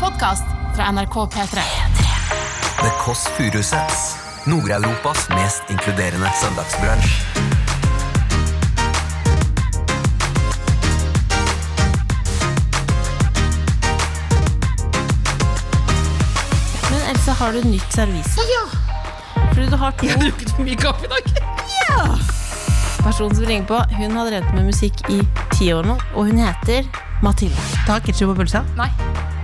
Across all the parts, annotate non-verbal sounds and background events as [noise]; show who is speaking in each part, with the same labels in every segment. Speaker 1: podkast fra NRK P3.
Speaker 2: The Kåss Furuseths. Nord-Europas mest inkluderende søndagsbransj.
Speaker 3: Men Elsa, har du nytt servise? Ja! Fordi du har to
Speaker 4: Jeg har drukket for mye kaffe i dag.
Speaker 3: personer som ringer på. Hun har drevet med musikk i ti år nå, og hun heter Mathilde. Ta ketsjup på pølsa.
Speaker 4: Nei,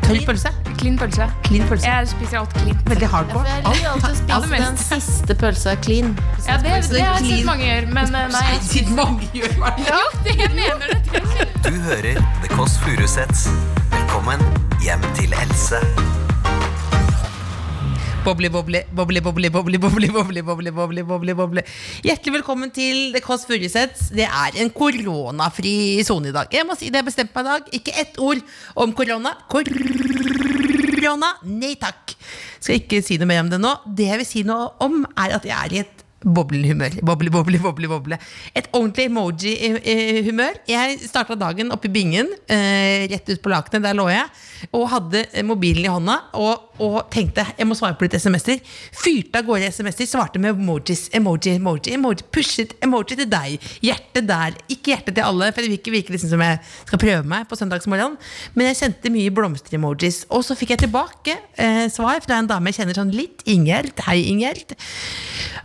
Speaker 3: Tørr pølse.
Speaker 4: klin pølse.
Speaker 3: Clean pølse.
Speaker 4: Jeg spiser alt clean.
Speaker 3: Veldig hardcore.
Speaker 1: Jeg liker alltid å
Speaker 4: Ja, det
Speaker 1: spise den
Speaker 4: mest.
Speaker 1: siste pølsa clean.
Speaker 4: Ja, det, det har jeg
Speaker 3: Clean.
Speaker 4: sett mange gjøre, men eh, [laughs] nei.
Speaker 3: Siden mange gjør hva de
Speaker 4: Jo, det jeg mener det.
Speaker 2: Du hører The Kåss Furuseths. Velkommen hjem til Else.
Speaker 5: Boble, boble, boble, boble, boble, boble, boble, boble, boble, boble, boble. Hjertelig velkommen til The Kåss Furuseths. Det er en koronafri sone i dag. Jeg må si det jeg bestemte meg i dag. Ikke ett ord om korona. Korona, nei takk. Skal ikke si noe mer om det nå. Det jeg vil si noe om, er at jeg er i et boblehumør. Boble, boble, boble, boble. Et ordentlig emoji-humør. Jeg starta dagen oppe i bingen, eh, rett ut på lakenet, der lå jeg, og hadde mobilen i hånda og, og tenkte jeg må svare på litt SMS-er. Fyrte av gårde SMS-er, svarte med emojis, emoji, emoji, emoji. Pushet emoji til deg. Hjerte der. Ikke hjerte til alle, for det vil ikke virke liksom som jeg skal prøve meg på søndagsmorgenen. Men jeg sendte mye blomster-emojis. Og så fikk jeg tilbake eh, svar fra en dame jeg kjenner sånn litt. Ingjerd. Hei, Ingjerd.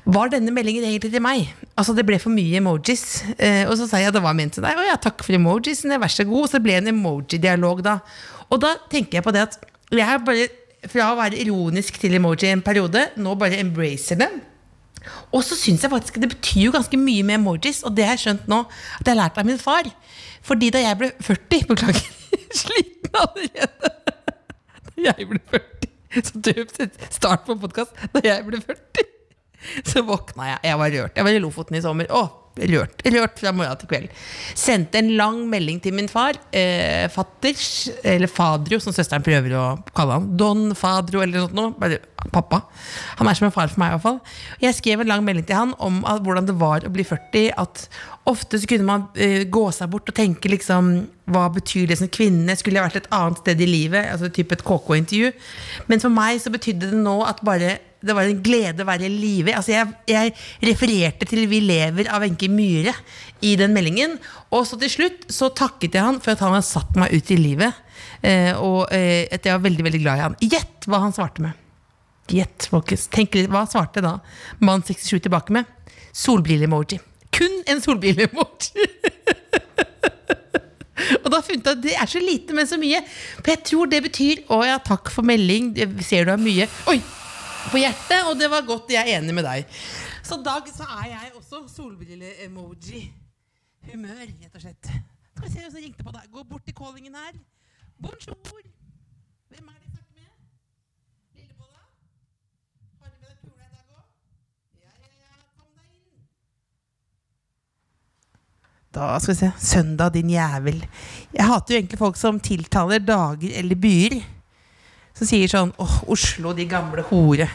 Speaker 5: Var denne meldingen egentlig til meg? Altså, det ble for mye emojis. Eh, og så sa jeg at det var ment til deg. Å ja, takk for emojisene, vær så god. Så det ble en emoji-dialog da. Og da tenker jeg på det at jeg er bare fra å være ironisk til emoji en periode, nå bare embracer dem. Og så syns jeg faktisk det betyr jo ganske mye med emojis, og det har jeg skjønt nå at jeg har lært av min far. Fordi da jeg ble 40 Beklager, [laughs] sliten allerede. Da jeg ble 40, så døpt et start på podkast. Da jeg ble 40, [laughs] så våkna jeg. Jeg var rørt. Jeg var i Lofoten i sommer. Åh, rørt. Rørt fra morgen til kveld. Sendte en lang melding til min far. Eh, fatters, eller Fadro, som søsteren prøver å kalle han. Don Fadro eller noe sånt. noe. Bare pappa. Han er som en far for meg, i hvert fall. Jeg skrev en lang melding til han om at, hvordan det var å bli 40. At ofte så kunne man eh, gå seg bort og tenke liksom hva betyr det som kvinne? Skulle jeg vært et annet sted i livet? Altså typ et KK-intervju. Men for meg så betydde det nå at bare det var en glede å være i live. Altså jeg, jeg refererte til 'Vi lever' av Wenche Myhre i den meldingen. Og så til slutt så takket jeg han for at han har satt meg ut i livet. Eh, og eh, at jeg var veldig, veldig glad i han. Gjett hva han svarte med. Gjett, folkens. Tenk litt, hva svarte da mann 67 tilbake med? Solbrille-emoji. Kun en solbrille-emoji! [laughs] Og da funnet jeg at det er så lite, men så mye. For jeg tror det betyr Å ja, takk for melding. Jeg Ser du har mye Oi! På hjertet, og det var godt. Jeg er enig med deg. Så Dag, så er jeg også solbrille-emoji. Humør, rett og slett. Skal vi se hvem som ringte på deg. Gå bort til callingen her. Bonjour! Hvem er det jeg snakker med? Lillebolla? Har du med deg kula i dag òg? Ja, ja, ja. Kom deg inn. Da skal vi se. Søndag, din jævel. Jeg hater jo egentlig folk som tiltaler dager eller byer. Som sier sånn åh, Oslo, de gamle hore.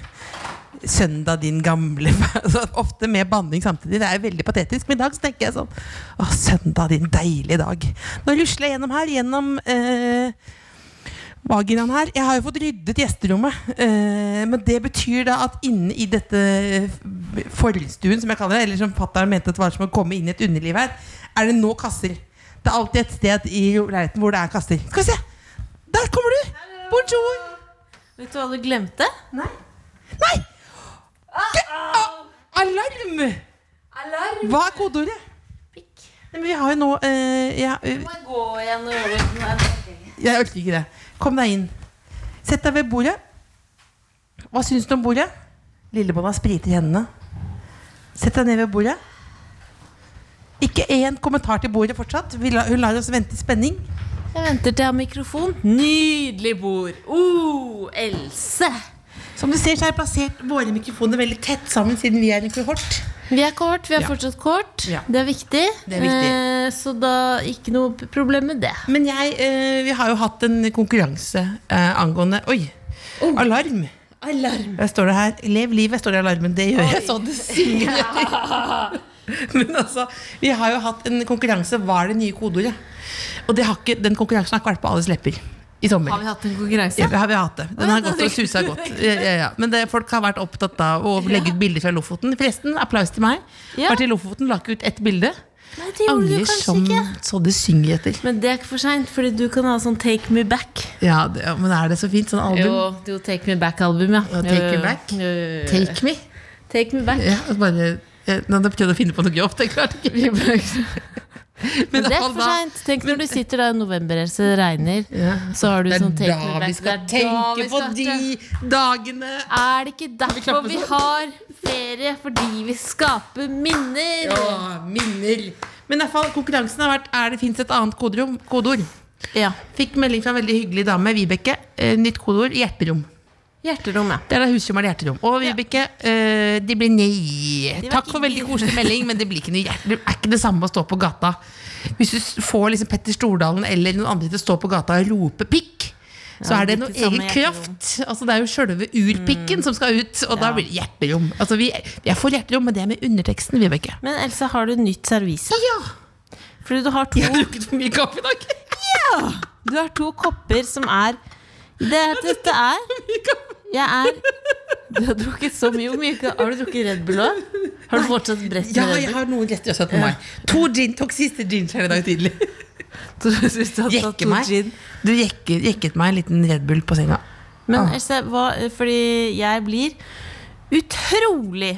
Speaker 5: Søndag, din gamle [laughs] altså, Ofte med banning samtidig. Det er jo veldig patetisk. Men i dag så tenker jeg sånn Å, søndag, din deilige dag. Nå rusler jeg gjennom her. Gjennom eh, vaginaen her. Jeg har jo fått ryddet gjesterommet. eh, men det betyr da at inne i dette eh, forstuen, som jeg kaller det, eller som fatter'n mente at det var som å komme inn i et underliv her, er det nå kasser. Det er alltid et sted i leiligheten hvor det er kasser. Skal vi se! Der kommer du! Bonjour!
Speaker 3: Vet du hva du glemte?
Speaker 5: Nei. Nei! Ge- a- Ah, Alarm!
Speaker 3: Alarm!
Speaker 5: Hva er kodeordet?
Speaker 3: Pikk.
Speaker 5: Nei, Men vi har jo nå eh, ja, eh,
Speaker 3: må gå igjen og gjøre det.
Speaker 5: Jeg orker ikke det. Kom deg inn. Sett deg ved bordet. Hva syns du om bordet? Lillebolla spriter hendene. Sett deg ned ved bordet. Ikke én kommentar til bordet fortsatt. Vi la- Hun lar oss vente i spenning.
Speaker 3: Jeg venter til jeg har mikrofon. Nydelig bord. Oh, Else.
Speaker 5: Som du ser, så har jeg plassert våre mikrofoner veldig tett sammen siden vi er en kohort.
Speaker 3: Vi er kort, vi er fortsatt kort.
Speaker 5: Ja.
Speaker 3: Det er viktig.
Speaker 5: Det er viktig.
Speaker 3: Eh, så da ikke noe p- problem med det.
Speaker 5: Men jeg, eh, vi har jo hatt en konkurranse eh, angående Oi! Alarm.
Speaker 3: Alarm.
Speaker 5: Der står det her 'Lev livet', står det i alarmen. Det gjør jeg så det synger. [laughs] Men altså, vi har jo hatt en konkurranse 'Hva er det nye kodeordet?' Og det har ikke, den konkurransen har ikke vært på alles lepper. I sommer.
Speaker 3: Har vi hatt en konkurranse?
Speaker 5: Ja, har vi hatt det. Den har gått og susa godt. Ja, ja, ja. Men det, folk har vært opptatt av å legge ut bilder fra Lofoten. Forresten, applaus til meg.
Speaker 3: Ja.
Speaker 5: Var til Lofoten, la ikke ut ett bilde.
Speaker 3: Nei, det gjorde
Speaker 5: Alle
Speaker 3: du kanskje
Speaker 5: som
Speaker 3: ikke.
Speaker 5: så det synger etter.
Speaker 3: Men det er ikke for seint, fordi du kan ha sånn Take Me Back.
Speaker 5: Ja, det, ja, men er det så fint, sånn album?
Speaker 3: Jo, jo Take Me Back-album, ja.
Speaker 5: Ja,
Speaker 3: Jo,
Speaker 5: Take Me
Speaker 3: jo,
Speaker 5: Back.
Speaker 3: jo, jo, jo.
Speaker 5: Take me.
Speaker 3: Take
Speaker 5: [laughs]
Speaker 3: Me Back.
Speaker 5: Ja, og bare, jeg, nå hadde jeg prøvd å finne på noe grovt, jeg klarte ikke.
Speaker 3: Men det er
Speaker 5: iallfall
Speaker 3: for
Speaker 5: da-
Speaker 3: seint. Tenk når du sitter der i november og det regner,
Speaker 5: Ja.
Speaker 3: så har du
Speaker 5: Det er
Speaker 3: sånn Take Me
Speaker 5: da vi
Speaker 3: Back.
Speaker 5: skal
Speaker 3: Det er da
Speaker 5: tenke
Speaker 3: vi
Speaker 5: på
Speaker 3: skal-
Speaker 5: de dagene.
Speaker 3: Er det ikke derfor
Speaker 5: klapper
Speaker 3: vi
Speaker 5: sånn?
Speaker 3: har ferie? Fordi vi skaper minner!
Speaker 5: Ja, minner. Men i hvert fall, konkurransen har vært Er det fins et annet koderom, kodeord?
Speaker 3: Ja.
Speaker 5: Fikk melding fra en veldig hyggelig dame, Vibeke. Eh, nytt kodeord hjerterom.
Speaker 3: Hjerterommet.
Speaker 5: Det er da husrom er det hjerterom. Og Vibeke, eh, de blir nei.
Speaker 3: var
Speaker 5: Takk
Speaker 3: ikke
Speaker 5: for veldig koselig melding, men det blir ikke noe hjerte. Det er ikke det samme å stå på gata. Hvis du s- får liksom Petter Stordalen eller noen andre til å stå på gata og rope pikk, så
Speaker 3: Ja,
Speaker 5: er
Speaker 3: det
Speaker 5: det
Speaker 3: blir
Speaker 5: noe
Speaker 3: ikke samme hjerterom.
Speaker 5: egen
Speaker 3: Mm.
Speaker 5: kraft. Altså, det er jo sjølve urpikken som skal ut, og da
Speaker 3: Ja.
Speaker 5: blir det hjerterom. Altså, vi, vi er for hjerterom, men det er med underteksten, Vibeke.
Speaker 3: Men Elsa, har du nytt servise?
Speaker 5: Ja!
Speaker 3: Fordi du har to,
Speaker 5: Jeg har drukket for mye kaffe i dag. [laughs]
Speaker 3: du har to kopper som er det, Dette er Jeg er Du har drukket så mye. Hvor mye ka- har du drukket Red Bull også? Har du fortsatt brett
Speaker 5: Ja,
Speaker 3: med Red
Speaker 5: jeg
Speaker 3: Bull?
Speaker 5: har noen retter jeg har satt på meg. To gin, tok siste ginskjell i dag [laughs] tidlig.
Speaker 3: Du synes du har tatt
Speaker 5: Jekke
Speaker 3: to
Speaker 5: meg.
Speaker 3: gin.
Speaker 5: Du jekke, jekket meg en liten Red Bull på senga.
Speaker 3: Men
Speaker 5: Ah.
Speaker 3: Elsa, hva, fordi jeg blir utrolig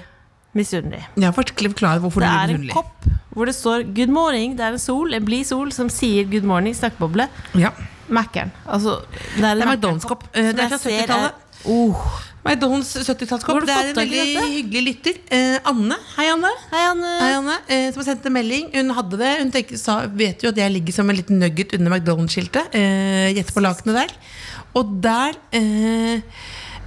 Speaker 3: misunnelig.
Speaker 5: Jeg har vært klar over hvorfor
Speaker 3: Det
Speaker 5: du
Speaker 3: er
Speaker 5: blir
Speaker 3: en
Speaker 5: munnlig.
Speaker 3: kopp hvor det står 'good morning'. Det er en sol, en blid sol, som sier 'good morning', snakkeboble.
Speaker 5: Ja.
Speaker 3: Mackeren. Altså, det er en
Speaker 5: Det er
Speaker 3: Mackeren-kopp
Speaker 5: McDonald's-kopp. Eh, det
Speaker 3: som
Speaker 5: er
Speaker 3: jeg
Speaker 5: fra
Speaker 3: ser
Speaker 5: 70-tallet.
Speaker 3: Oh.
Speaker 5: McDonald's
Speaker 3: Hvor
Speaker 5: 70-tallskopp.
Speaker 3: har du
Speaker 5: Det
Speaker 3: fått
Speaker 5: er en
Speaker 3: tak i
Speaker 5: veldig
Speaker 3: dette?
Speaker 5: hyggelig lytter. Eh, Anne. Hei, Anne.
Speaker 3: Hei, Anne.
Speaker 5: Hei, Anne. Eh, som har sendt en melding. Hun hadde det. Hun tenker, sa, vet jo at jeg ligger som en liten nugget under McDonald's-skiltet. Eh, Gjett på lakenet der. Og der eh,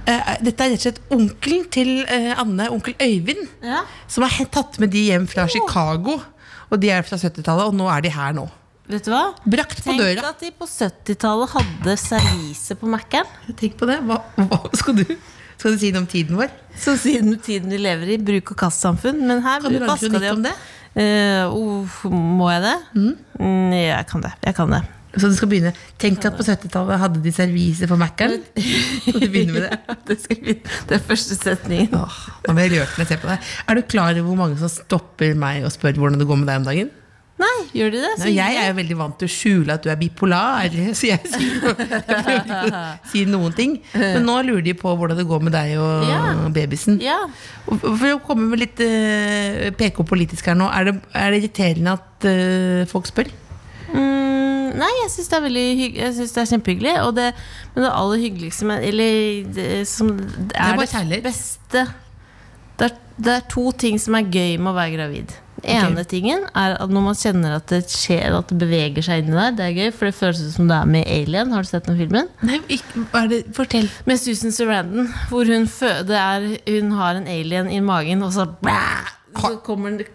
Speaker 5: eh, Dette er rett og slett onkelen til eh, Anne, onkel Øyvind.
Speaker 3: Ja.
Speaker 5: Som har he- tatt med de hjem fra Chicago. Og de er fra 70-tallet, og nå er de her nå.
Speaker 3: Vet du hva?
Speaker 5: Brakt på
Speaker 3: Tenk
Speaker 5: døra.
Speaker 3: at de på 70-tallet hadde servise på Mac-en.
Speaker 5: Tenk på det. Hva, hva skal, du, skal du si noe om tiden vår?
Speaker 3: Så siden tiden de lever i, bruk- og kastsamfunn. Men her
Speaker 5: Kan du lage
Speaker 3: vaska de
Speaker 5: kronikk
Speaker 3: opp.
Speaker 5: om det?
Speaker 3: Eh, uff, må jeg det? Mm, jeg kan det. Jeg kan det.
Speaker 5: Så du skal begynne Tenk at på 70-tallet hadde de servise på Mac-en. [laughs] Skal du begynne med det?
Speaker 3: det, skal vi, det er første setningen.
Speaker 5: Åh, nå ble jeg rørt når jeg ser på deg. Er du klar over hvor mange som stopper meg og spør hvordan det går med deg om dagen?
Speaker 3: Nei, gjør de det? Så
Speaker 5: Nei, jeg er jo veldig vant til å skjule at du er bipolar, så jeg sier jo- jeg prøver ikke å si noen ting. Men nå lurer de på hvordan det går med deg og
Speaker 3: Ja.
Speaker 5: babysen.
Speaker 3: Ja.
Speaker 5: Og For å komme med litt eh, PK politisk her nå, er det, er det irriterende at eh, folk spør?
Speaker 3: Mm, nei, jeg syns det er veldig hygg, jeg synes det er kjempehyggelig. Og det, men det aller hyggeligste med Eller det, som, det
Speaker 5: er
Speaker 3: er
Speaker 5: bare
Speaker 3: det,
Speaker 5: kjærlighet.
Speaker 3: beste det er, det er to ting som er gøy med å være gravid. Den ene tingen er at når man kjenner at det skjer At det beveger seg inni der, det er gøy. For det føles ut som du er med i Alien. Har du sett den filmen?
Speaker 5: Nei, er det, fortell.
Speaker 3: Med Susan Sarandon, hvor hun, fø- det er, hun har en alien i magen, og så, så kommer den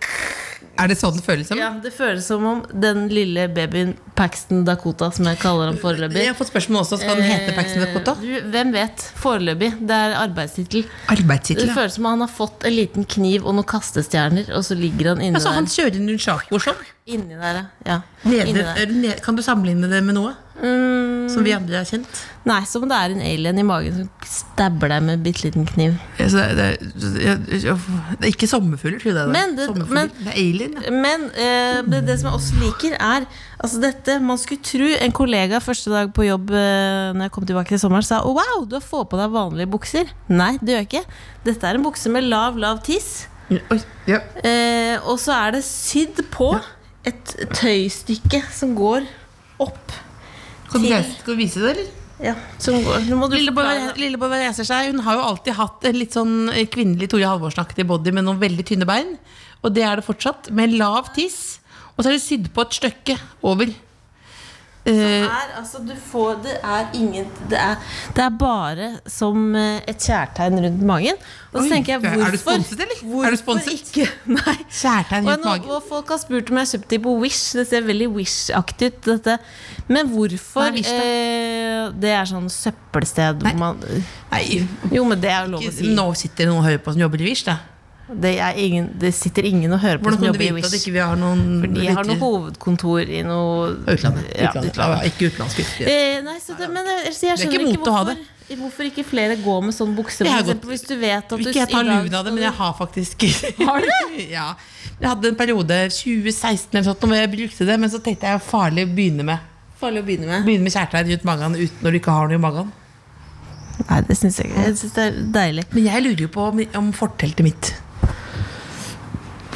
Speaker 5: Er det sånn det føles som?
Speaker 3: ja, Det føles som om den lille babyen Paxton Dakota, som jeg kaller ham foreløpig
Speaker 5: Jeg har fått spørsmål også. Skal den hete Paxton Dakota?
Speaker 3: Eh, du, Hvem vet? Foreløpig. Det er arbeidstittel. Eh, Det
Speaker 5: Arbeidstittel, ja.
Speaker 3: føles som om han har fått en liten kniv og noen kastestjerner, og så ligger han inni
Speaker 5: Altså, han
Speaker 3: der.
Speaker 5: kjører nunchako sånn.
Speaker 3: Inni der, ja.
Speaker 5: Nede-
Speaker 3: Inni der.
Speaker 5: er det ned- Kan du sammenligne det med noe
Speaker 3: Mm,
Speaker 5: som vi andre har kjent?
Speaker 3: nei, som om det er en alien i magen som stabber deg med en bitte liten kniv.
Speaker 5: Ja, så det, er, det, er, det er ikke sommerfugler, tror jeg. Det, er.
Speaker 3: Men det-
Speaker 5: Sommerfugler.
Speaker 3: men-
Speaker 5: det er alien. ja.
Speaker 3: Men eh, det, det som jeg også liker, er altså dette Man skulle tro en kollega første dag på jobb eh, Når jeg kom tilbake til sommeren, sa oh, wow, du har fått på deg vanlige bukser. Nei, det gjør jeg ikke. Dette er en bukse med lav, lav tiss.
Speaker 5: Oi, ja.
Speaker 3: Eh, og så er det sydd på et tøystykke som går opp.
Speaker 5: Skal, du
Speaker 3: Til-
Speaker 5: reise, skal du vise det, eller?
Speaker 3: Ja, som går Nå må du forklare.
Speaker 5: Lilleborg reiser seg. Hun har jo alltid hatt en litt sånn kvinnelig Tore Halvorsen-aktig body med noen veldig tynne bein. Og det er det fortsatt. Med lav tiss. Og så er det sydd på et stykke over.
Speaker 3: Det
Speaker 5: Eh,
Speaker 3: er, altså, du får, det er ingen det er, det er bare som eh, et kjærtegn rundt magen. Og så
Speaker 5: Oi,
Speaker 3: tenker jeg,
Speaker 5: er
Speaker 3: hvorfor
Speaker 5: du sponset, eller? Er du
Speaker 3: hvorfor
Speaker 5: sponset?
Speaker 3: Ikke? [laughs] Nei.
Speaker 5: Kjærtegn
Speaker 3: Og
Speaker 5: rundt
Speaker 3: nå-
Speaker 5: magen.
Speaker 3: Og folk har spurt om jeg har kjøpt de på Wish. Det ser veldig Wish-aktig ut, dette. Men hvorfor
Speaker 5: Hva er Wish, da?
Speaker 3: eh, Det er sånn søppelsted hvor man
Speaker 5: nei,
Speaker 3: Jo, men det er jo lov å si.
Speaker 5: Nå sitter det noen og hører på som jobber i Wish, da.
Speaker 3: Det, er ingen, det sitter ingen og hører på
Speaker 5: Hvordan
Speaker 3: som
Speaker 5: kan du
Speaker 3: jobber i
Speaker 5: vite at
Speaker 3: Wish.
Speaker 5: ikke vi har noen
Speaker 3: Fordi jeg har noe
Speaker 5: lyttere?
Speaker 3: hovedkontor i noe
Speaker 5: Utlandet.
Speaker 3: Ja,
Speaker 5: utlandet.
Speaker 3: utlandet.
Speaker 5: Ja, ikke utenlandsk lyttere.
Speaker 3: Eh, nei, så det, men jeg, så jeg
Speaker 5: Det er
Speaker 3: skjønner
Speaker 5: ikke
Speaker 3: ikke,
Speaker 5: mot å ha
Speaker 3: hvorfor, hvorfor ikke flere går med sånn bukse.
Speaker 5: Jeg
Speaker 3: For
Speaker 5: har
Speaker 3: eksempel,
Speaker 5: gått-
Speaker 3: hvis du vet at du
Speaker 5: Ikke jeg tar
Speaker 3: i dag
Speaker 5: luven av det,
Speaker 3: skal
Speaker 5: men jeg
Speaker 3: du-
Speaker 5: har faktisk Har du det? [laughs] ja. Jeg hadde en periode, 2016 eller sånt, hvor jeg brukte det, men så tenkte jeg farlig å begynne med.
Speaker 3: Farlig å begynne med.
Speaker 5: Begynne med kjærtegn rundt magen ut når du ikke har noe i magen.
Speaker 3: Nei, det syns jeg ikke. Jeg synes det er deilig.
Speaker 5: Men jeg lurer jo på om, om forteltet mitt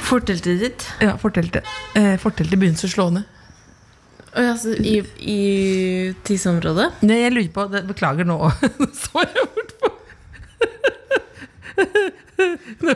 Speaker 3: Forteltet ditt
Speaker 5: Ja, forteltet. Eh, forteltet begynner så slående.
Speaker 3: Å ja, så i, i tisseområdet?
Speaker 5: Nei, jeg lurer på det, Beklager nå. [laughs] Nå så jeg bort på [laughs] Nå,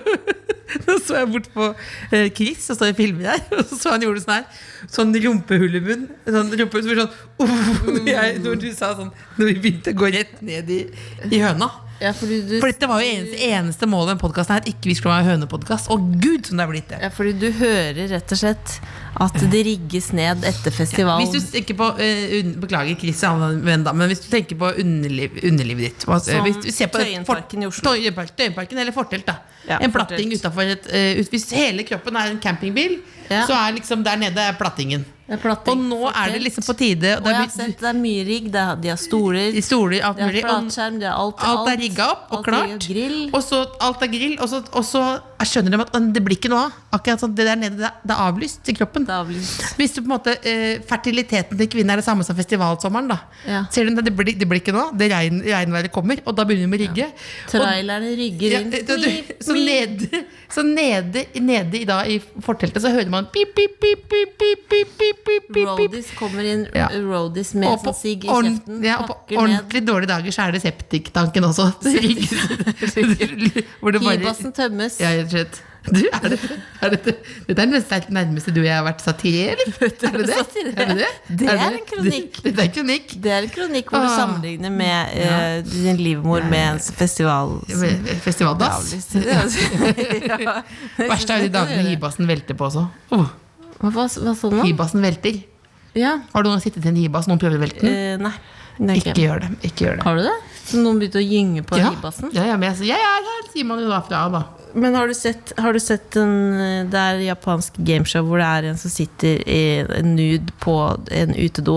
Speaker 5: nå så jeg bort på eh, Chris, og står og filmer der. [laughs] Og så så han gjorde sånn her. Sånn rumpehull i bunnen. Sånn rumpehull som blir sånn uff, [laughs] når, jeg, når du sa sånn Når vi begynte å gå rett ned i, i høna.
Speaker 3: Ja, fordi du,
Speaker 5: For dette var jo eneste, eneste målet med den podkasten her. at Ikke vi skulle være en hønepodkast. Å gud, som det er blitt det.
Speaker 3: ja, fordi du hører rett og slett at det rigges ned etter festivalen.
Speaker 5: Hvis du tenker på eh, un Beklager, Chris, er en venn, da, men hvis du tenker på underliv, underlivet ditt hva-
Speaker 3: Som
Speaker 5: hvis du ser på et fort-
Speaker 3: Tøyenparken i Oslo.
Speaker 5: Tøyenpark- Tøyenparken eller fortelt. da
Speaker 3: Ja,
Speaker 5: En
Speaker 3: fortelt.
Speaker 5: platting utenfor et eh, ut, Hvis hele kroppen er en campingbil,
Speaker 3: Ja.
Speaker 5: så er liksom der nede er plattingen.
Speaker 3: Det er platting,
Speaker 5: Og nå er det
Speaker 3: fortelt.
Speaker 5: liksom på tide. Og
Speaker 3: Og
Speaker 5: det
Speaker 3: jeg
Speaker 5: er
Speaker 3: har
Speaker 5: blitt
Speaker 3: sett det er mye rigg. det er- De har stoler,
Speaker 5: i stoler, alt
Speaker 3: de har
Speaker 5: mulig. og-
Speaker 3: flatskjerm, de har alt.
Speaker 5: Alt er rigga opp
Speaker 3: alt
Speaker 5: og
Speaker 3: er
Speaker 5: klart.
Speaker 3: Grill.
Speaker 5: Og så alt er grill. Og så, og så jeg skjønner de at det blir ikke noe av. Akkurat sånn, Det der nede, det er- det er avlyst til kroppen.
Speaker 3: Det er avlyst.
Speaker 5: Hvis du på en måte eh, Fertiliteten til kvinner er det samme som festivalsommeren, da.
Speaker 3: Ja.
Speaker 5: Ser du, det, det, blir, det blir ikke noe av. Det regn, regnværet kommer, og da begynner vi med rigge. Og-
Speaker 3: Trailerne rygger
Speaker 5: ja,
Speaker 3: inn.
Speaker 5: du, du, så nede, så nede, nede i, da, i forteltet så hører man pip, pip, pip, pip, pip, pip, pip, pip, pip, pip.
Speaker 3: Roadies kommer inn
Speaker 5: Ja.
Speaker 3: roadies med
Speaker 5: Og på
Speaker 3: sånn sigg i
Speaker 5: ordn-
Speaker 3: kjeften.
Speaker 5: ja, og på
Speaker 3: pakker ned.
Speaker 5: ordentlig dårlige dager så er det septiktanken også.
Speaker 3: [laughs]
Speaker 5: [laughs] Hvor det bare
Speaker 3: Kibassen tømmes.
Speaker 5: Ja, rett og slett. Du, er det, er det, dette er det nærmeste, nærmeste du og jeg har vært
Speaker 3: [laughs]
Speaker 5: satire, eller? Er det det?
Speaker 3: satire.
Speaker 5: Er det, det?
Speaker 3: Det er
Speaker 5: det?
Speaker 3: en kronikk.
Speaker 5: Det, det er en kronikk.
Speaker 3: Det er en kronikk hvor du
Speaker 5: Ah.
Speaker 3: sammenligner med eh, din livmor med en festival.
Speaker 5: Festivaldass.
Speaker 3: Avlyst. Ja.
Speaker 5: Verst er jo de
Speaker 3: [laughs]
Speaker 5: dagene hibassen velter på også. Oh,
Speaker 3: Hva, hva hva sa du nå?
Speaker 5: hibassen velter.
Speaker 3: Ja.
Speaker 5: Har du noen gang sittet i en hibas noen prøver å velte den?
Speaker 3: Eh, nei. Det er
Speaker 5: Ikke
Speaker 3: ikke.
Speaker 5: gjør det. ikke gjør det
Speaker 3: Har du det? Så noen begynte å gynge på
Speaker 5: Ja,
Speaker 3: hibassen?
Speaker 5: ja, ja, men jeg, sier, jeg er her, sier man jo da fra. da
Speaker 3: Men har du sett, har du sett en, eh, det er japansk gameshow hvor det er en som sitter i en nude på en utedo?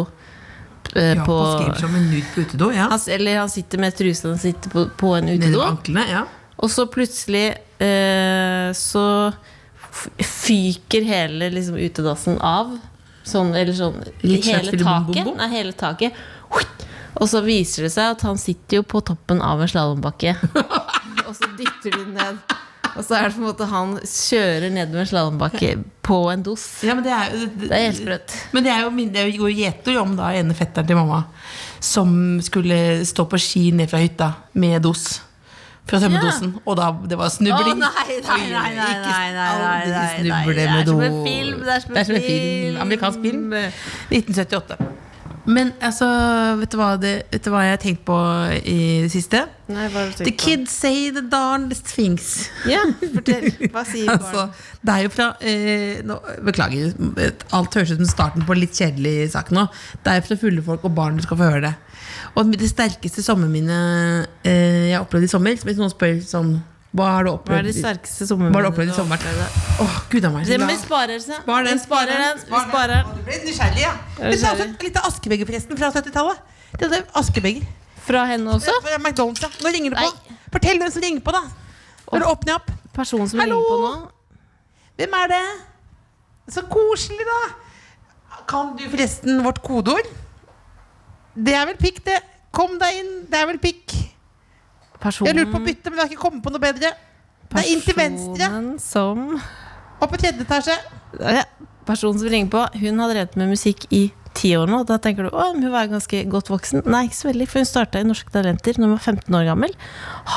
Speaker 3: eh, på,
Speaker 5: som en nude på utedo. Ja.
Speaker 3: han, s- eller han sitter med trusa han sitter på, på en
Speaker 5: Nede ved
Speaker 3: utedo.
Speaker 5: anklene. Ja.
Speaker 3: Og så plutselig eh, så f- fyker hele liksom, utedassen av. Sånn, eller sånn
Speaker 5: Litt slags
Speaker 3: Hele
Speaker 5: Filibom
Speaker 3: taket.
Speaker 5: Bombo?
Speaker 3: Nei, hele taket. Huit! Og så viser det seg at han sitter jo på toppen av en
Speaker 5: [laughs]
Speaker 3: slalåmbakke. og så dytter de ned. Og så er det på en måte han kjører nedover en slalåmbakke på en dos.
Speaker 5: Ja, men det er jo
Speaker 3: Det er helt sprøtt.
Speaker 5: Men det er jo min, det er jo gjeter jo om da ene fetteren til mamma som skulle stå på ski ned fra hytta med dos. Fra tømmerdosen. Og da det var snubling. Aldri snuble med do. Det er som en film. Amerikansk film. 1978. Men altså, vet du hva, det, vet du hva jeg har tenkt på i det siste?
Speaker 3: Nei, hva har du
Speaker 5: The
Speaker 3: tenkt på?
Speaker 5: kids say the darnest things.
Speaker 3: Ja, [laughs] fortell. Hva sier
Speaker 5: Altså,
Speaker 3: barn?
Speaker 5: det er jo fra eh, nå, Beklager, alt høres ut som starten på en litt kjedelig sak nå. Det er jo fra fulle folk og barn du skal få høre det. Og det sterkeste sommerminnet eh, jeg har opplevd i sommer Hvis noen spør sånn Hva har
Speaker 3: Hva er
Speaker 5: du opplevd,
Speaker 3: det sterkeste sommerminnet
Speaker 5: hva har du opplevd i
Speaker 3: du har
Speaker 5: sommer?
Speaker 3: opplevd?
Speaker 5: Åh, gud a meg.
Speaker 3: Det, men vi sparer den.
Speaker 5: Spar den,
Speaker 3: Vi sparer den. Vi sparer den.
Speaker 5: Å, Du ble nysgjerrig, ja. Men ta også Litt av Askebeger, forresten, fra 70-tallet. Det er Askebeger.
Speaker 3: Fra henne også.
Speaker 5: Fra McDonald's, ja. Nå ringer du på.
Speaker 3: Nei.
Speaker 5: Fortell hvem som ringer på, da. Når du åpner opp.
Speaker 3: Personen som
Speaker 5: Hallo?
Speaker 3: ringer på nå.
Speaker 5: Hvem er det? Så koselig, da! Kan du forresten vårt kodeord? Det er vel pikk, det. Kom deg inn, det er vel pikk. Jeg
Speaker 3: Personen,
Speaker 5: lurte på å bytte, men jeg har ikke kommet på noe bedre. Det er inn til venstre
Speaker 3: personen som
Speaker 5: og på tredje etasje.
Speaker 3: ja, Personen som ringer på, hun har drevet med musikk i ti år nå. Da tenker du å, men hun var ganske godt voksen. Nei, ikke så veldig, for hun starta i Norske Talenter da hun var 15 år gammel.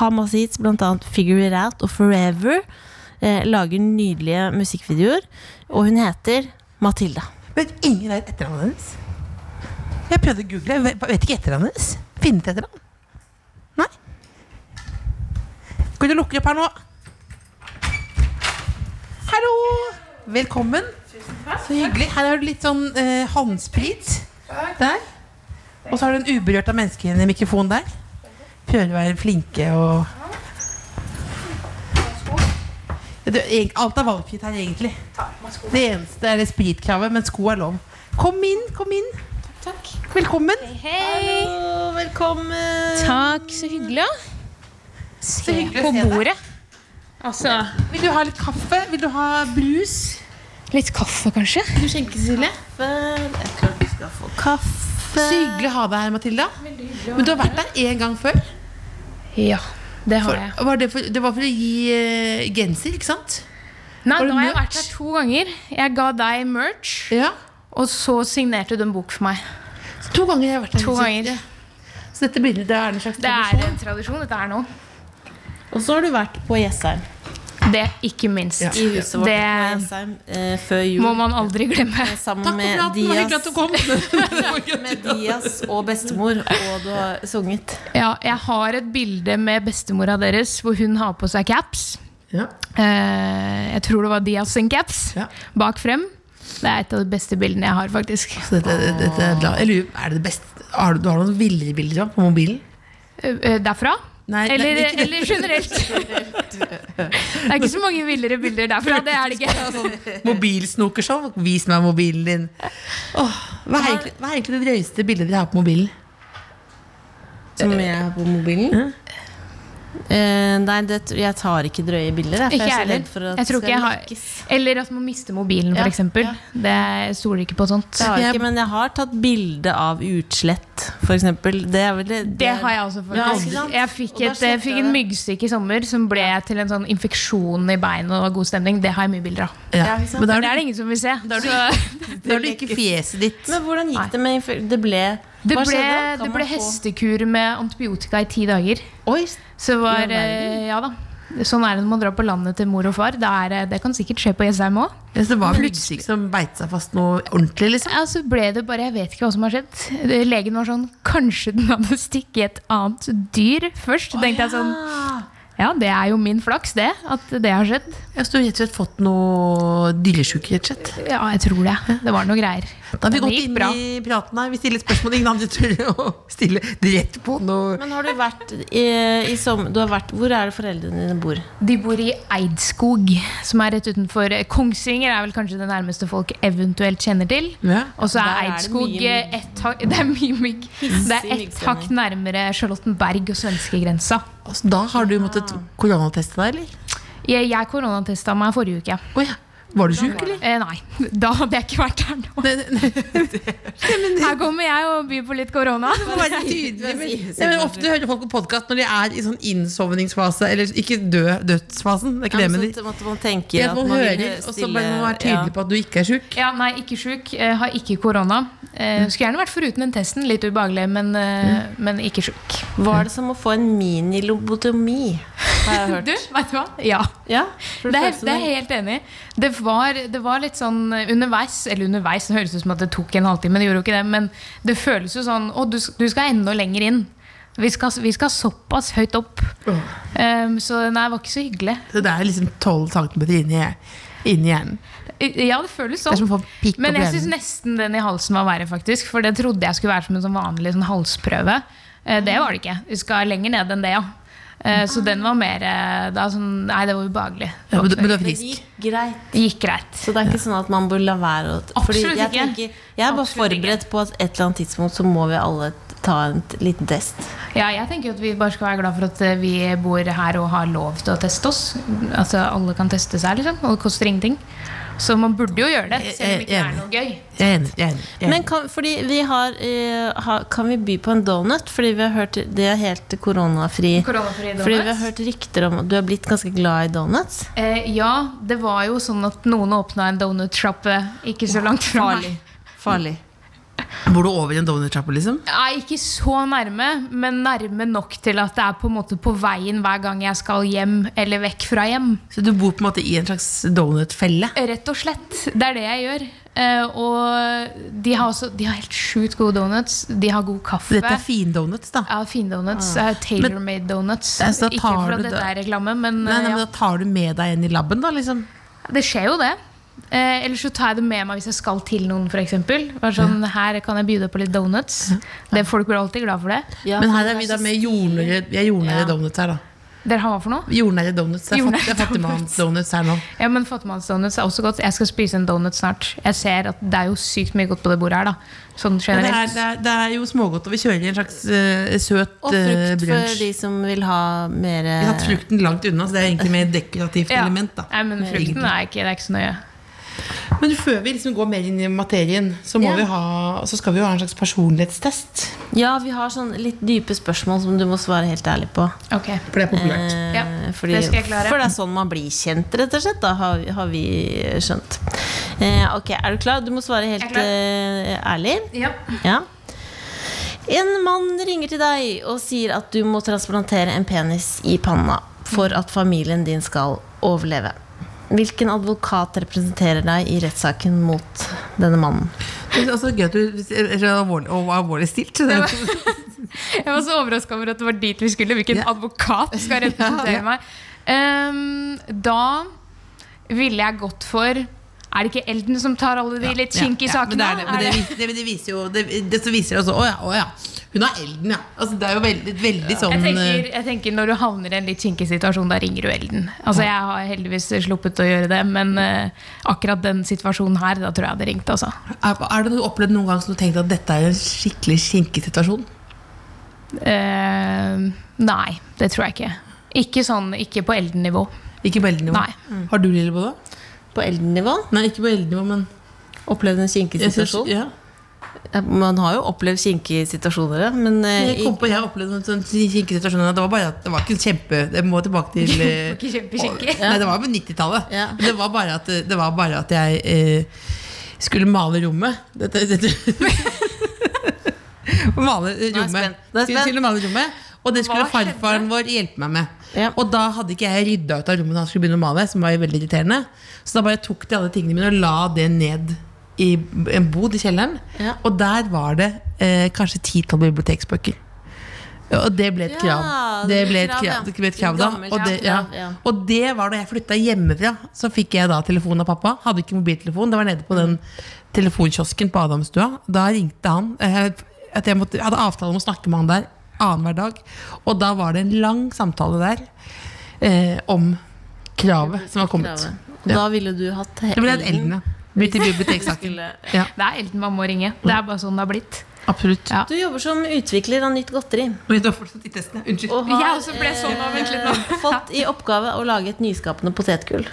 Speaker 3: Har masse hits, bl.a. Figure It Out og Forever. Eh, lager nydelige musikkvideoer. Og hun heter Matilda.
Speaker 5: Vet ingen vet etternavnet hennes. Jeg prøvde å google, jeg vet- vet ikke etternavnet hennes. Finne til etternavn. Nei. Kan du lukke opp her nå? Hallo! Velkommen. Så hyggelig. Her har du litt sånn eh, håndsprit. Der. Og så har du en uberørt av mennesker i mikrofonen der. Prøver å være flinke og Du, eg- Alt er valgfritt her, egentlig. Det eneste er det spritkravet, men sko er lov. Kom inn, kom inn. Velkommen.
Speaker 4: Hei!
Speaker 5: Hallo, velkommen.
Speaker 4: [laughs] Takk, så hyggelig. ja. Se
Speaker 5: hyggelig å
Speaker 4: på
Speaker 5: se deg.
Speaker 4: bordet. Altså,
Speaker 5: Vil du ha litt kaffe? Vil du ha brus?
Speaker 4: litt kaffe, kanskje?
Speaker 3: Jeg tror vi skal få kaffe.
Speaker 5: Så hyggelig å ha deg her, Matilda. Men du har vært der én gang før.
Speaker 4: Ja, det har jeg.
Speaker 5: For, var det, for, det var for å gi eh, genser, ikke sant?
Speaker 4: Nei,
Speaker 5: Har du
Speaker 4: nå har jeg
Speaker 5: merch?
Speaker 4: vært her to ganger. Jeg ga deg merch,
Speaker 5: Ja.
Speaker 4: og så signerte du en bok for meg.
Speaker 5: Så to ganger har jeg vært her.
Speaker 4: To
Speaker 5: liksom.
Speaker 4: ganger.
Speaker 5: Så dette bildet det er en slags
Speaker 4: Det er
Speaker 5: tradisjon.
Speaker 4: en tradisjon. Dette er noe.
Speaker 3: Og så har du vært på Jessheim.
Speaker 4: Det, ikke minst.
Speaker 5: Ja.
Speaker 3: I huset vårt
Speaker 4: Det-
Speaker 3: på Jessheim eh, før jul.
Speaker 4: Må man aldri glemme.
Speaker 3: Sammen
Speaker 5: Takk for
Speaker 3: med
Speaker 5: praten. Det var hyggelig at du [laughs]
Speaker 3: Dias,
Speaker 5: kom.
Speaker 3: med Dias og bestemor, og du har sunget.
Speaker 4: Ja, jeg har et bilde med bestemora deres hvor hun har på seg caps.
Speaker 5: ja.
Speaker 4: Eh, jeg tror det var Diaz sin caps.
Speaker 5: Ja.
Speaker 4: Bak frem. Det er et av de beste bildene jeg har, faktisk.
Speaker 5: Så dette, dette er glad. Jeg lurer, er det det beste har du, du har noen villere bilder også, på mobilen?
Speaker 4: Eh, eh, derfra?
Speaker 5: Nei, nei,
Speaker 4: eller,
Speaker 5: ikke det.
Speaker 4: eller generelt. det er ikke så mange villere bilder derfra. Det er det ikke.
Speaker 5: Mobilsnokershow? Vis meg mobilen din. Åh, hva, er egentlig, hva er egentlig det drøyeste bildet dere har på mobilen?
Speaker 3: Som jeg har på mobilen. Eh, nei, det, tr- jeg tar ikke drøye bilder. Jeg, for
Speaker 4: Ikke
Speaker 3: jeg er så
Speaker 4: heller.
Speaker 3: redd for at
Speaker 4: Jeg tror
Speaker 3: det
Speaker 4: ikke jeg
Speaker 3: skal
Speaker 4: har-
Speaker 3: lekkes.
Speaker 4: Eller at man mister mobilen,
Speaker 3: Ja,
Speaker 4: f.eks.
Speaker 3: ja.
Speaker 4: Det jeg stoler ikke på sånt.
Speaker 3: Det har jeg
Speaker 5: Jeg-
Speaker 3: ikke, men jeg har tatt bilde av utslett, f.eks. Det, er vel- det,
Speaker 4: Det har jeg også,
Speaker 3: Ja,
Speaker 4: faktisk.
Speaker 3: ikke sant?
Speaker 4: jeg fikk,
Speaker 3: Og da
Speaker 4: et, jeg
Speaker 3: slettet
Speaker 4: fikk
Speaker 3: jeg det.
Speaker 4: en myggstykke i sommer som ble til en sånn infeksjon i beinet og god stemning. Det har jeg mye bilder av.
Speaker 5: Ja.
Speaker 3: ikke sant?
Speaker 5: Men da
Speaker 4: Men
Speaker 5: har
Speaker 4: det er
Speaker 5: du,
Speaker 4: det ingen som vil se. Så
Speaker 5: da har du ikke fjeset ditt.
Speaker 3: Men hvordan
Speaker 4: Nei.
Speaker 3: gikk det med inf- Det ble
Speaker 4: det
Speaker 3: Hva
Speaker 4: ble,
Speaker 3: skjedde? Kan
Speaker 4: det
Speaker 3: man
Speaker 4: ble
Speaker 3: få-
Speaker 4: hestekur med antibiotika i ti dager.
Speaker 3: Oi,
Speaker 4: Så var
Speaker 3: I all verden.
Speaker 4: eh, Ja da. Sånn er det når man drar på landet til mor og far. Det, er, eh, det kan sikkert skje på Jessheim òg.
Speaker 5: Ja, så det var plutselig som beit seg fast noe ordentlig, liksom.
Speaker 4: Ja, så ble det bare Jeg vet ikke hva som har skjedd. Det- Legen var sånn Kanskje den hadde stikket i et annet dyr først. Så tenkte jeg sånn Ja, det er jo min flaks, det. At det har skjedd.
Speaker 5: Jeg har rett og slett fått noe dyresjuke, rett og slett.
Speaker 4: Ja, jeg tror det. Det var noe greier.
Speaker 5: Da har vi
Speaker 4: Men det
Speaker 5: gått
Speaker 4: gikk
Speaker 5: inn
Speaker 4: bra.
Speaker 5: i praten her. Vi stiller spørsmål ingen andre tør å stille rett på noe.
Speaker 3: Men har du vært i, i som, du har vært, Hvor er det foreldrene dine bor?
Speaker 4: De bor i Eidskog, som er rett utenfor eh, Kongsvinger. er vel kanskje det nærmeste folk eventuelt kjenner til.
Speaker 5: Ja.
Speaker 4: Og så
Speaker 3: Der
Speaker 4: er
Speaker 3: er det
Speaker 4: Eidskog
Speaker 3: mye mygg.
Speaker 4: ett hakk [laughs] Det er mye mygg.
Speaker 3: Hissig
Speaker 4: Det er ett
Speaker 3: myggstemning.
Speaker 4: hakk nærmere Charlottenberg og svenskegrensa.
Speaker 5: Altså, da har du måttet koronateste deg, eller?
Speaker 4: Jeg, jeg koronatesta meg forrige uke.
Speaker 5: Å ja. Var du sjuk, eller?
Speaker 4: Eh, nei, [laughs] da hadde jeg ikke vært her nå. [laughs] Her kommer jeg og byr på litt korona.
Speaker 5: må være tydelig, men, Nei, men Ofte hører folk på podkast når de er i sånn innsovningsfase, eller ikke dø, dødsfasen. Det er ikke det, men de,
Speaker 3: så måtte man tenke
Speaker 5: ja,
Speaker 3: at
Speaker 5: man
Speaker 3: man
Speaker 5: hører,
Speaker 3: ville
Speaker 5: og så
Speaker 3: stille-
Speaker 5: bare må man være tydelig på at du ikke er sjuk.
Speaker 4: Ja, nei, ikke sjuk. Eh, har ikke korona. Eh, skulle gjerne vært foruten den testen. Litt ubehagelig, men, eh, men ikke sjuk.
Speaker 3: ja. Var det som å få en minilobotomi? Har jeg hørt.
Speaker 4: Du, vet du hva? Ja.
Speaker 3: Ja,
Speaker 4: Det er, det er jeg helt enig. i. Det var, det var litt sånn underveis Eller underveis, det høres ut som at det tok en halvtime, men det gjorde jo ikke det. Men det føles jo sånn Å, du, s- du skal enda lenger inn. Vi skal, vi skal såpass høyt opp. Ehm, så nei, det var ikke så hyggelig.
Speaker 5: Så det er liksom 12 cm inni, inni hjernen.
Speaker 4: I- Ja, det føles
Speaker 5: Det er som
Speaker 4: sånn.
Speaker 5: å få pikk
Speaker 4: Men
Speaker 5: opp i
Speaker 4: jeg syns
Speaker 5: hjernen.
Speaker 4: nesten den i halsen var verre, faktisk. For det trodde jeg skulle være som en sånn vanlig sånn halsprøve. Eh, det var det ikke. Vi skal lenger ned enn det, ja. Eh, så den var mer eh, da, sånn, Nei, det var ubehagelig.
Speaker 5: Ja, men, du- men du er
Speaker 3: Det
Speaker 5: frisk.
Speaker 3: gikk greit.
Speaker 4: Det gikk greit.
Speaker 3: Så det er ikke sånn at man bør la være å fordi
Speaker 4: Absolutt
Speaker 3: jeg,
Speaker 4: ikke.
Speaker 3: tenker, jeg er bare
Speaker 4: Absolutt ikke.
Speaker 3: forberedt på at et eller annet tidspunkt så må vi alle ta en t- liten test.
Speaker 4: Ja, jeg tenker at vi bare skal være glad for at eh, vi bor her og har lov til å teste oss. Altså, Alle kan teste seg, liksom, og det koster ingenting. Så man burde jo gjøre det, selv om det ikke er noe gøy.
Speaker 5: Jeg er enig. Jeg er enig, jeg er enig.
Speaker 3: Men kan, fordi vi har, eh, ha, kan vi by på en donut? Fordi vi har hørt det er helt koronafri.
Speaker 4: Koronafri donuts?
Speaker 3: Fordi vi har hørt rykter om at du er blitt ganske glad i donuts.
Speaker 4: Eh, ja, det var jo sånn at noen åpna en donutsjappe ikke så langt fra meg.
Speaker 3: Farlig.
Speaker 5: Bor du over i en donuttrappe, liksom?
Speaker 4: Nei, ikke så nærme, men nærme nok til at det er på en måte på veien hver gang jeg skal hjem eller vekk fra hjem.
Speaker 5: Så du bor på en måte i en slags donutfelle?
Speaker 4: Rett og slett. Det er det jeg gjør. Eh, og de har, også, de har helt sjukt gode donuts. De har god kaffe.
Speaker 5: Dette er findonuts, da.
Speaker 4: Ja, fine donuts.
Speaker 5: Ah.
Speaker 4: Eh, Tailor-made donuts.
Speaker 5: Ja, så da
Speaker 4: Ikke
Speaker 5: tar
Speaker 4: for
Speaker 5: du
Speaker 4: at dette
Speaker 5: det-
Speaker 4: er reklame, men,
Speaker 5: Nei, nei,
Speaker 4: eh,
Speaker 5: men Da tar du med deg en i labben, da, liksom?
Speaker 4: ja. det skjer jo det. Eh, Eller så tar jeg det med meg hvis jeg skal til noen, f.eks. Sånn, her kan jeg by deg på litt donuts. Det, folk blir alltid glad for det.
Speaker 5: Men her er vi da med jordnære, vi er jordnære donuts her, da.
Speaker 4: Dere har hva for noe?
Speaker 5: Jordnære donuts. Det er
Speaker 4: Jordnære
Speaker 5: fatt- det er Fattigmanns donuts her nå.
Speaker 4: Ja, men Fattigmannsdonuts er også godt. Jeg skal spise en donut snart. Jeg ser at Det er jo sykt mye godt på det bordet her. da Sånn
Speaker 5: Ja, det, er,
Speaker 4: generelt.
Speaker 5: det, er, det er jo smågodt, og vi kjører en slags eh, søt
Speaker 3: Og
Speaker 5: eh,
Speaker 3: frukt for
Speaker 5: brunsj.
Speaker 3: de som vil ha mer
Speaker 5: Vi har hatt frukten langt unna, så det er egentlig mer dekorativt
Speaker 4: Eh. Ja.
Speaker 5: element. da
Speaker 4: Nei, men frukten er ikke, det er ikke så nøye.
Speaker 5: Men før vi liksom går mer inn i materien, så, må
Speaker 3: Ja.
Speaker 5: vi ha, så skal vi jo ha en slags personlighetstest.
Speaker 3: Ja, vi har sånn litt dype spørsmål som du må svare helt ærlig på.
Speaker 4: Ok,
Speaker 5: For det er populært.
Speaker 3: Eh,
Speaker 4: Ja,
Speaker 3: fordi,
Speaker 4: det skal jeg klare.
Speaker 3: For det er sånn man blir kjent, rett og slett. Da har, vi- har vi skjønt. Eh, ok, er du klar? Du må svare
Speaker 4: Jeg er
Speaker 3: helt
Speaker 4: klar.
Speaker 3: eh, ærlig.
Speaker 4: ja.
Speaker 3: Ja. En mann ringer til deg og sier at du må transplantere en penis i panna for at familien din skal overleve. Hvilken advokat representerer deg i rettssaken mot denne mannen?
Speaker 5: Det er også gøy at du er så alvorlig, og alvorlig stilt. så Det er
Speaker 4: Jeg var så overraska over at det var dit vi skulle. Hvilken
Speaker 5: [laughs] Ja.
Speaker 4: advokat skal representere meg? Ehm, da ville jeg gått for Er det ikke Elden som tar alle de litt kinky
Speaker 5: ja,
Speaker 4: sakene?
Speaker 5: Men det, er det, men det, vis- det, det viser jo Det, det så viser det også. Å ja, å ja. Hun har elden, ja. Altså, det er jo veldig, veldig
Speaker 4: Jeg
Speaker 5: sånn
Speaker 4: tenker,
Speaker 5: eh,
Speaker 4: jeg tenker Når du havner i en litt kinkig situasjon, da ringer du Elden. Altså Jeg har heldigvis sluppet å gjøre det, men eh, akkurat den situasjonen her, da tror jeg jeg hadde ringt. Altså.
Speaker 5: Er, eh, er det noe du har opplevd noen gang som du tenkte at dette er en skikkelig kinkig situasjon?
Speaker 4: Ehm, nei, det tror jeg ikke. Ikke sånn, ikke på Elden-nivå.
Speaker 5: Ikke på elden
Speaker 4: Nei.
Speaker 5: Har du Lillebo da?
Speaker 3: På elden-nivå?
Speaker 5: Nei, ikke på elden men
Speaker 3: Opplevd en kinkig
Speaker 5: jeg, synes,
Speaker 3: situasjon?
Speaker 5: ja.
Speaker 3: Man har jo opplevd kinkige situasituasjoner, ja, men eh,
Speaker 5: jeg kom på jeg opplevde en sånn kinkig situasjon. og Det var bare at det var ikke kjempe Jeg må tilbake til eh,
Speaker 4: Ikke kjempekinkig.
Speaker 5: Nei, det var på 90-tallet.
Speaker 3: Ja.
Speaker 5: Men Det, var bare at- det var bare at jeg eh, skulle male rommet. Dette,
Speaker 3: [laughs]
Speaker 5: dette.
Speaker 3: Nå
Speaker 5: male eh,
Speaker 3: er jeg
Speaker 5: rommet.
Speaker 3: spent. Nå er jeg
Speaker 5: Skulle-
Speaker 3: spent.
Speaker 5: skulle male rommet. Og det skulle
Speaker 4: Hva skjedde?
Speaker 5: farfaren vår hjelpe meg med.
Speaker 3: Ja.
Speaker 5: Og da hadde ikke jeg rydda ut av rommet da han skulle begynne å male. Som var jo veldig irriterende Så da bare tok de alle tingene mine og la det ned i en bod i kjelleren.
Speaker 3: Ja.
Speaker 5: Og der var det eh, kanskje ti-tolv biblioteksbøker. Og det ble et
Speaker 3: Ja,
Speaker 5: krav. Det ble et
Speaker 3: ja.
Speaker 5: krav, det ble et krav da.
Speaker 3: Gammelt
Speaker 5: Og det, ja.
Speaker 3: krav, ja.
Speaker 5: og det var da jeg flytta hjemmefra. Så fikk jeg da telefon av pappa. Hadde ikke mobiltelefon. Det var nede på den telefonkiosken på Adamstua. Da ringte han. eh, At jeg, måtte, jeg hadde avtale om å snakke med han der annenhver dag. Og da var det en lang samtale der eh, om kravet som var kommet.
Speaker 3: kravet. Og
Speaker 5: Ja.
Speaker 3: Da ville du hatt
Speaker 5: Det ble et elden, ja. Blitt
Speaker 3: [laughs]
Speaker 5: i biblioteksaken.
Speaker 3: Skulle-
Speaker 5: Ja,
Speaker 4: Det er Elden man må ringe. Det er bare sånn det har blitt.
Speaker 5: absolutt.
Speaker 4: Ja.
Speaker 3: Du jobber som utvikler av nytt godteri.
Speaker 5: Men da fortsatt i testen, ja. Unnskyld.
Speaker 3: Og har
Speaker 4: Jeg også ble sånn av, vent litt nå.
Speaker 3: eh, fått i oppgave å lage et nyskapende potetgull.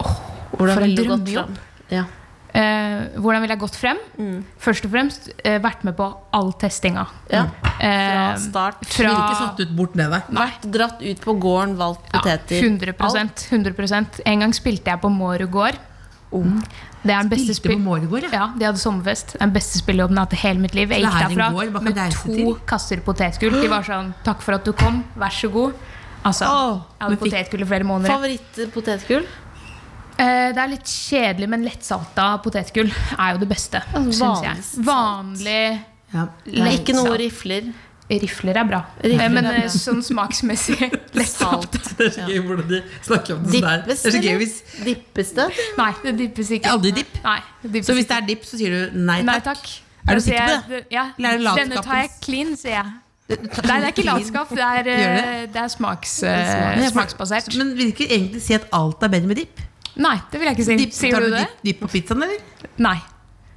Speaker 3: Hvordan
Speaker 4: for en
Speaker 3: ville du gått
Speaker 4: drømmejobb.
Speaker 3: fram? Ja.
Speaker 4: Eh, hvordan ville jeg gått frem? Først og fremst eh, vært med på all testinga.
Speaker 3: ja.
Speaker 5: Mm.
Speaker 4: Eh,
Speaker 3: Fra start.
Speaker 4: fra
Speaker 5: Ville ikke satt ut bort ned der.
Speaker 3: Vært dratt ut på gården, valgt
Speaker 4: ja,
Speaker 3: poteter.
Speaker 4: 100,
Speaker 3: Alt.
Speaker 4: 100 En gang spilte jeg på Mårud gård. Det er den beste
Speaker 5: Spilte på
Speaker 4: spill-
Speaker 5: Måregård, ja.
Speaker 4: Ja, De hadde sommerfest. Den beste spillejobben jeg har hatt i hele mitt liv.
Speaker 5: Så
Speaker 4: Jeg
Speaker 5: det
Speaker 4: gikk
Speaker 5: er en
Speaker 4: derfra
Speaker 5: gård man kan
Speaker 4: med
Speaker 5: reise
Speaker 4: to
Speaker 5: til?
Speaker 4: kasser potetgull. De var sånn 'Takk for at du kom. Vær så god'. Altså,
Speaker 5: Åh,
Speaker 4: Jeg hadde
Speaker 5: men fikk-
Speaker 4: potetgull i flere måneder.
Speaker 3: Favorittpotetgull?
Speaker 4: Eh, Det er litt kjedelig, men lettsalta potetgull er jo det beste.
Speaker 3: Altså,
Speaker 4: synes jeg.
Speaker 3: vanlig salt.
Speaker 4: Vanlig
Speaker 3: Nei, ikke noe
Speaker 4: salt.
Speaker 3: rifler.
Speaker 4: Rifler er bra.
Speaker 3: Rifler
Speaker 4: Eh, men
Speaker 3: er bra.
Speaker 4: eh, sånn
Speaker 5: [laughs]
Speaker 4: smaksmessig lettsalta.
Speaker 3: Salt.
Speaker 5: Det er så gøy hvordan de snakker om det der.
Speaker 3: Dippes,
Speaker 5: Det er så gøy
Speaker 3: eller?
Speaker 5: hvis
Speaker 3: Dippes det?
Speaker 4: Nei, det dyppes ikke.
Speaker 5: Aldri dipp?
Speaker 4: Nei, det dyppes
Speaker 5: Så hvis
Speaker 4: ikke.
Speaker 5: det er dipp, så sier du nei
Speaker 4: Nei
Speaker 5: takk?
Speaker 4: takk.
Speaker 5: Er du
Speaker 4: Da sier
Speaker 5: sikker på
Speaker 4: jeg- Ja.
Speaker 5: Eller er det latskapens-
Speaker 4: Denne tar jeg clean, sier jeg. Nei, det er ikke latskap. Det er,
Speaker 5: Gjør
Speaker 4: eh, det er smaks, eh,
Speaker 5: Men jeg får-
Speaker 4: smaksbasert.
Speaker 5: Men vil ikke egentlig si at alt er bedre med dipp?
Speaker 4: Nei, det vil jeg ikke si.
Speaker 5: Dipp-
Speaker 4: Sier
Speaker 5: tar
Speaker 4: du det?
Speaker 5: Dipp, dipp på pizzaen, eller?
Speaker 4: Nei.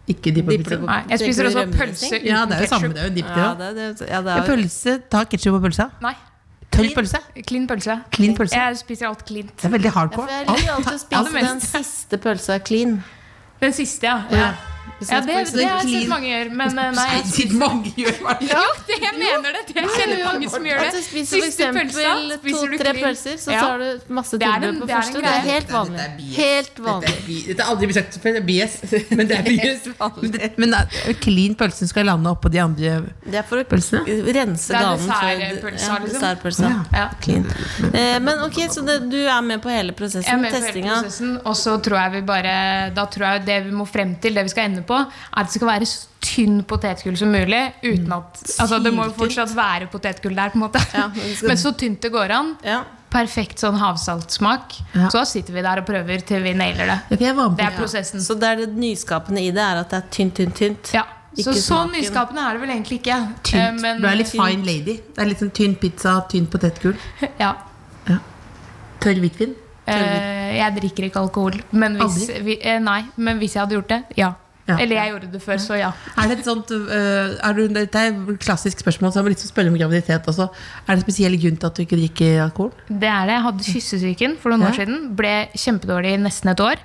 Speaker 5: Ikke dipp på
Speaker 3: Dipper
Speaker 5: pizzaen.
Speaker 3: du på-
Speaker 4: Nei. Jeg spiser
Speaker 3: Tenker du
Speaker 4: også
Speaker 3: rømmesting?
Speaker 4: pølse uten
Speaker 5: liksom? Ja, det er jo samme,
Speaker 4: ketchup.
Speaker 5: det er jo dipp det
Speaker 3: Ja,
Speaker 5: òg.
Speaker 3: det, det, ja, det er
Speaker 5: Pølse, ta ketsjup på pølsa.
Speaker 4: Nei.
Speaker 5: Tørr pølse.
Speaker 4: Clean pølse.
Speaker 5: Clean pølse.
Speaker 4: Jeg spiser alt cleant.
Speaker 5: Det er veldig
Speaker 3: Ja, for
Speaker 5: hardcore.
Speaker 3: jeg
Speaker 5: Alt.
Speaker 3: liker alltid å spise
Speaker 4: mest.
Speaker 3: den siste pølsa clean.
Speaker 4: Den siste, ja.
Speaker 3: Ja.
Speaker 4: ja. Ja, det, det har jeg
Speaker 5: Clean.
Speaker 4: sett mange gjøre, men eh, nei. jeg-
Speaker 5: Siden mange gjør det.
Speaker 4: Jo, det jeg mener det! Jeg kjenner mange som gjør
Speaker 3: At
Speaker 4: det.
Speaker 3: du spiser
Speaker 4: Siste
Speaker 3: f.eks.
Speaker 4: pølsa, spiser du
Speaker 3: to-tre
Speaker 4: clean.
Speaker 3: pølser, så
Speaker 4: Ja.
Speaker 3: tar du masse
Speaker 4: Det er en-
Speaker 3: tilbehør på
Speaker 4: det er en
Speaker 3: første. Det
Speaker 4: greie.
Speaker 3: er helt vanlig.
Speaker 5: Dette er bias.
Speaker 3: Helt
Speaker 5: Dette
Speaker 3: vanlig.
Speaker 5: er bi- Dette har aldri blitt sagt før, det er bias. [laughs] Men det er bias. Men, det, men eh, clean pølsen skal lande oppå de andre
Speaker 3: Det er for å rense
Speaker 5: pølsene?
Speaker 4: Det er
Speaker 3: ganen for
Speaker 4: dessertpølsa,
Speaker 3: ja,
Speaker 4: liksom.
Speaker 3: dessertpølsa.
Speaker 4: Ja.
Speaker 3: Clean.
Speaker 5: Mm.
Speaker 3: Eh, men ok, så det, du er med på hele
Speaker 4: Jeg er
Speaker 3: prosessen?
Speaker 4: med på hele
Speaker 3: Testinga?
Speaker 4: prosessen, og så tror jeg vi bare Da tror jeg det vi må frem til, det vi skal ende på, er at det skal være så tynn potetgull som mulig. Uten at, altså Det må jo fortsatt være potetgull der, på en måte.
Speaker 3: Ja, men det skal-
Speaker 4: [laughs] Men så tynt det går an.
Speaker 3: Ja.
Speaker 4: Perfekt sånn havsaltsmak.
Speaker 5: Ja.
Speaker 4: Så sitter vi der og prøver til vi nailer det.
Speaker 5: Ok, jeg var med
Speaker 4: Det
Speaker 5: på
Speaker 4: er prosessen.
Speaker 3: Så det er det nyskapende i det, er at det er tynt, tynt, tynt?
Speaker 4: Ja. Så
Speaker 3: Ikke
Speaker 4: så
Speaker 3: smaken.
Speaker 4: nyskapende er det vel egentlig ikke. Eh,
Speaker 5: tynt.
Speaker 4: Men,
Speaker 5: Du er litt fine lady. Det er litt sånn tynn pizza, tynn potetgull.
Speaker 4: [laughs] ja.
Speaker 5: Ja. Tørr hvitvin?
Speaker 4: Eh, jeg drikker ikke alkohol. Men hvis, vi, eh, nei, men hvis jeg hadde gjort det, ja.
Speaker 5: Ja.
Speaker 4: Eller jeg gjorde det før, så ja.
Speaker 5: Er det et sånt øh, er du, Dette er et klassisk spørsmål, så jeg må liksom spørre om graviditet også. Er det en spesiell grunn til at du ikke drikker alkohol?
Speaker 4: Det er det. Jeg hadde kyssesyken for noen år siden. Ble kjempedårlig i nesten et år.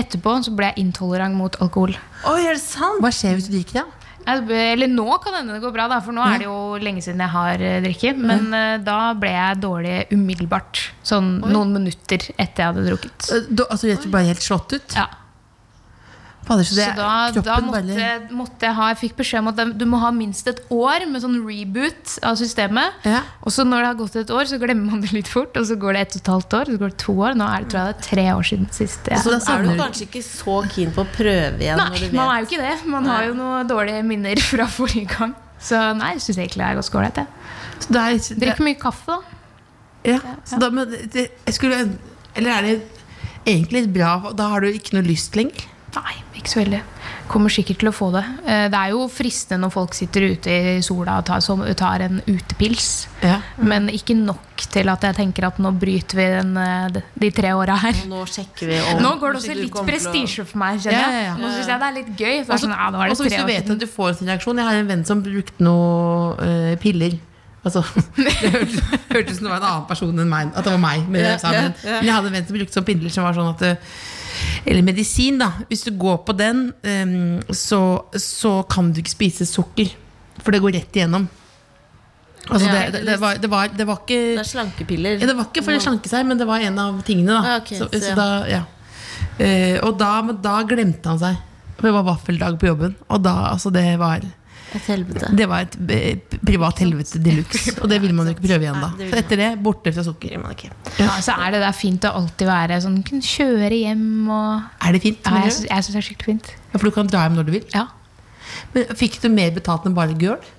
Speaker 4: Etterpå så ble jeg intolerant mot alkohol.
Speaker 3: Oi, er det sant?
Speaker 5: Hva skjer hvis du drikker, da?
Speaker 4: Jeg, ble- eller nå kan hende det går bra, da, for nå er det jo lenge siden jeg har eh, drikket. Men eh, da ble jeg dårlig umiddelbart. Sånn noen minutter etter jeg hadde drukket.
Speaker 5: Øh, da altså, rett og slett bare helt slått ut?
Speaker 4: Ja.
Speaker 5: Fader, så
Speaker 4: Så
Speaker 5: det,
Speaker 4: da, da
Speaker 5: kroppen
Speaker 4: måtte,
Speaker 5: bare
Speaker 4: måtte jeg ha Jeg fikk beskjed om at det- du må ha minst et år med sånn reboot av systemet.
Speaker 5: Ja.
Speaker 4: Og så når det har gått et år, så glemmer man det litt fort. Og så går det ett og et halvt år, så går det to år. Nå er det, tror jeg det er tre år siden sist. jeg-
Speaker 3: Så da
Speaker 5: savner
Speaker 3: er du
Speaker 5: du-
Speaker 3: kanskje ikke så keen på å prøve igjen? når du
Speaker 4: Nei,
Speaker 3: vet.
Speaker 4: man er jo ikke det. Man har jo noen dårlige minner [laughs] fra forrige gang. Så nei, jeg syns egentlig det er ganske ålreit. jeg.
Speaker 5: så det er, det,
Speaker 4: Drikker mye kaffe, da.
Speaker 5: ja, så da, men det, jeg skulle, Eller er det egentlig litt bra Da har du ikke noe lyst lenger?
Speaker 4: Nei, ikke så veldig. Kommer sikkert til å få det. Eh, Det er jo fristende når folk sitter ute i sola og tar, som- tar en utepils.
Speaker 5: Ja.
Speaker 4: Men ikke nok til at jeg tenker at nå bryter vi den, eh, de- de tre åra her.
Speaker 3: Nå sjekker vi om
Speaker 4: Nå går det
Speaker 3: Hvis
Speaker 4: også
Speaker 3: ikke du
Speaker 4: litt
Speaker 3: kommer til å-
Speaker 4: prestisje for meg. kjenner jeg.
Speaker 5: Ja, ja, ja.
Speaker 4: Nå syns jeg det er litt gøy. For det er
Speaker 5: Og så
Speaker 4: sånn, ja, nå er
Speaker 5: og
Speaker 4: det
Speaker 5: så Altså, hvis
Speaker 4: tre
Speaker 5: du
Speaker 4: år
Speaker 5: vet
Speaker 4: siden.
Speaker 5: at du får en reaksjon Jeg har en venn som brukte noe øh, piller. Altså, [laughs] det hørtes hørtes ut som det var en annen person enn meg. At det var meg men jeg sa, men, men jeg hadde en venn som brukte sånn piller som var sånn at øh, Eller medisin, da. Hvis du går på den, øhm, så, så kan du ikke spise sukker. For det går rett igjennom. Altså, det, det, det, var, det, var, det var
Speaker 3: Det
Speaker 5: ikke
Speaker 3: er slankepiller.
Speaker 5: ja, Det var ikke for å slanke seg, men det var en av tingene. Da.
Speaker 3: Ah, ok,
Speaker 5: så,
Speaker 3: så
Speaker 5: så
Speaker 3: ja.
Speaker 5: da, ja. Eh, og da, men da glemte han seg. For det var vaffeldag på jobben. Og da, altså det var
Speaker 3: Et helvete.
Speaker 5: Det var et eh, privat helvete de
Speaker 3: [laughs]
Speaker 5: luxe. Og det ville man jo ikke prøve igjen da.
Speaker 3: Nei, det vil
Speaker 5: Så etter det, borte fra sukker.
Speaker 4: Ja, så er det der fint å alltid være sånn Kunne kjøre hjem og
Speaker 5: Er det fint?
Speaker 4: ja,
Speaker 5: mener
Speaker 4: Jeg
Speaker 5: du?
Speaker 4: syns jeg syns det er skikkelig fint.
Speaker 5: Ja, for du kan dra hjem når du vil.
Speaker 4: Ja.
Speaker 5: Men fikk du mer betalt enn bare girl?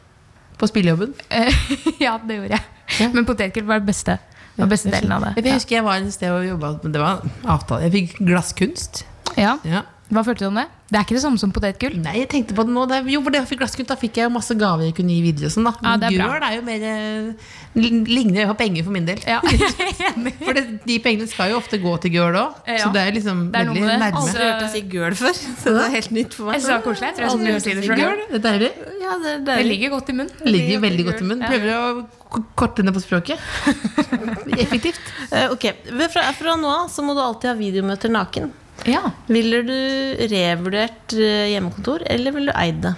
Speaker 5: På spillejobben?
Speaker 4: Eh, [laughs] ja, det gjorde jeg. Men potetgull var det beste. Det var beste delen av
Speaker 5: Jeg
Speaker 4: det.
Speaker 5: husker jeg var et sted og jobba, men det var avtale. Jeg fikk glasskunst.
Speaker 4: Ja.
Speaker 5: Ja.
Speaker 4: Hva følte du om det? Det er ikke det samme som potetgull.
Speaker 5: Nei, jeg tenkte på det nå. Det, er- jo, for det jeg fikk glasskutt, da fikk jeg jo masse gaver jeg kunne gi videre. og Sånn, da.
Speaker 4: Ja,
Speaker 5: Men
Speaker 4: det er bra.
Speaker 5: Gulrøtter er jo mer eh, Ligner jo på penger for min del.
Speaker 4: Ja, [laughs] jeg er enig.
Speaker 5: For det, de pengene skal jo ofte gå til gøl òg, så
Speaker 4: Ja.
Speaker 5: det er liksom
Speaker 4: Det er noe
Speaker 5: veldig
Speaker 4: med det.
Speaker 5: nærme.
Speaker 4: Altså,
Speaker 3: Aldri hørt deg si gøl før. [laughs] Så det er helt nytt for meg.
Speaker 4: Jeg sa koselig. Jeg tror jeg skal begynne å si det selv.
Speaker 5: Gøl, det er deilig.
Speaker 3: Ja, det er
Speaker 4: Det
Speaker 3: deilig.
Speaker 4: ligger godt i munnen.
Speaker 5: Det ligger jo veldig godt i munnen.
Speaker 4: Ja.
Speaker 5: Prøver å k- korte ned på
Speaker 4: [laughs]
Speaker 5: språket. Effektivt.
Speaker 3: Eh, ok, Men fra, fra nå av så må du alltid ha videomøter naken.
Speaker 4: Ja.
Speaker 3: Ville du revurdert eh, hjemmekontor, eller ville du eid det?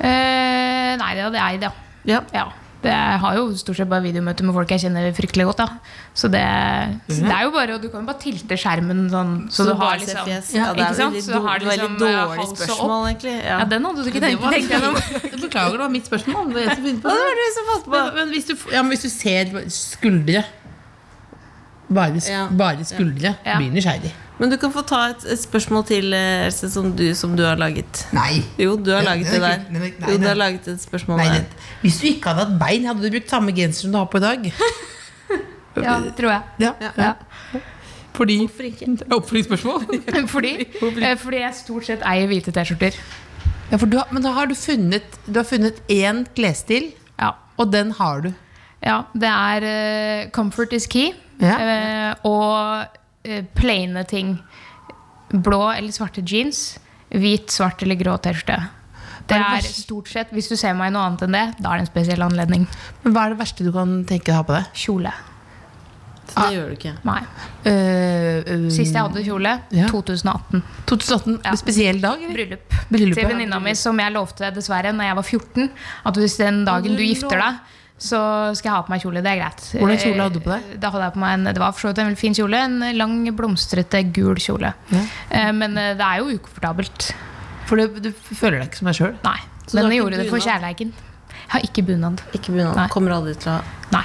Speaker 4: Eh, nei, det hadde jeg eid, ja.
Speaker 3: Ja.
Speaker 4: ja. Det- Jeg har jo stort sett bare videomøter med folk jeg kjenner fryktelig godt. da Så det, så det er jo bare Du kan jo bare tilte skjermen sånn, så, du har
Speaker 3: bare ser
Speaker 4: liksom
Speaker 3: fjes.
Speaker 4: ja,
Speaker 3: Ja, det
Speaker 4: Ikke
Speaker 3: er
Speaker 4: sant?
Speaker 3: veldig,
Speaker 4: Så du har
Speaker 3: dårlig-
Speaker 4: liksom
Speaker 3: veldig
Speaker 4: eh,
Speaker 3: dårlig
Speaker 4: hals og opp.
Speaker 3: spørsmål, egentlig. Ja.
Speaker 4: Ja, den hadde du ikke
Speaker 5: Det
Speaker 4: tenkt
Speaker 5: var,
Speaker 4: tenkt gjennom.
Speaker 5: [laughs] beklager, det var mitt spørsmål. Det var jeg som begynte på
Speaker 3: Å, det
Speaker 5: det.
Speaker 3: var du som falt på.
Speaker 5: Men, men, hvis du, f- ja, men hvis du ser skuldre Bare, sk-
Speaker 3: Ja.
Speaker 5: bare skuldre
Speaker 4: Ja.
Speaker 5: blir nysgjerrig.
Speaker 3: Men du kan få ta et, et spørsmål til, eh, Else, som du, som du har laget.
Speaker 5: Nei.
Speaker 3: Jo, du har
Speaker 5: Ja,
Speaker 3: laget
Speaker 5: det
Speaker 3: det
Speaker 5: er
Speaker 3: der.
Speaker 5: ikke- det er ikke- nei,
Speaker 3: Jo, du
Speaker 5: det-
Speaker 3: har laget et spørsmål
Speaker 5: Nei,
Speaker 3: der.
Speaker 5: det, hvis du ikke hadde hatt bein, hadde du brukt samme genser som du har på i dag.
Speaker 4: Ja, tror jeg.
Speaker 5: Ja,
Speaker 4: Ja.
Speaker 5: Fordi Oppfølgingsspørsmål?
Speaker 4: [laughs] Fordi, eh, fordi jeg stort sett eier hvite T-skjorter.
Speaker 5: [laughs] ja, for du har, men da har du funnet Du har funnet én klesstil,
Speaker 4: Ja.
Speaker 5: og den har du.
Speaker 4: ja. Det er eh, comfort is key.
Speaker 5: Ja.
Speaker 4: eh, og eh, plaine ting. Blå eller svarte jeans. Hvit, svart eller grå T-skjorte. Det
Speaker 5: Hva er det
Speaker 4: er
Speaker 5: verste-
Speaker 4: stort sett, Hvis du ser meg i noe annet enn det, da er det en spesiell anledning.
Speaker 5: Men hva er det verste du kan tenke deg å ha på deg?
Speaker 4: Kjole.
Speaker 3: Det gjør du ikke.
Speaker 4: Nei.
Speaker 5: Eh, eh,
Speaker 4: Sist jeg hadde kjole,
Speaker 5: Ja.
Speaker 4: 2018.
Speaker 5: 2018,
Speaker 4: Ja.
Speaker 5: spesiell dag? Eller?
Speaker 4: Bryllup.
Speaker 5: Bryllupet,
Speaker 4: Til
Speaker 5: ja.
Speaker 4: venninna mi, som jeg lovte dessverre når jeg var 14, at hvis den dagen du gifter deg, så skal jeg ha på meg kjole. Det er greit.
Speaker 5: Hvordan kjole hadde du på deg?
Speaker 4: Eh, Da hadde jeg på meg en, Det var for så vidt en veldig fin kjole. En lang, blomstrete, gul kjole.
Speaker 5: Ja.
Speaker 4: Eh, Men eh, det er jo ukomfortabelt.
Speaker 5: For det, du føler deg ikke som deg sjøl.
Speaker 4: Nei.
Speaker 3: du har
Speaker 4: Men jeg
Speaker 3: ikke
Speaker 4: gjorde det for
Speaker 3: bunad?
Speaker 4: kjærleiken. Jeg har ikke bunad.
Speaker 3: Ikke bunad.
Speaker 4: Nei.
Speaker 3: Kommer aldri til å ha
Speaker 4: Nei.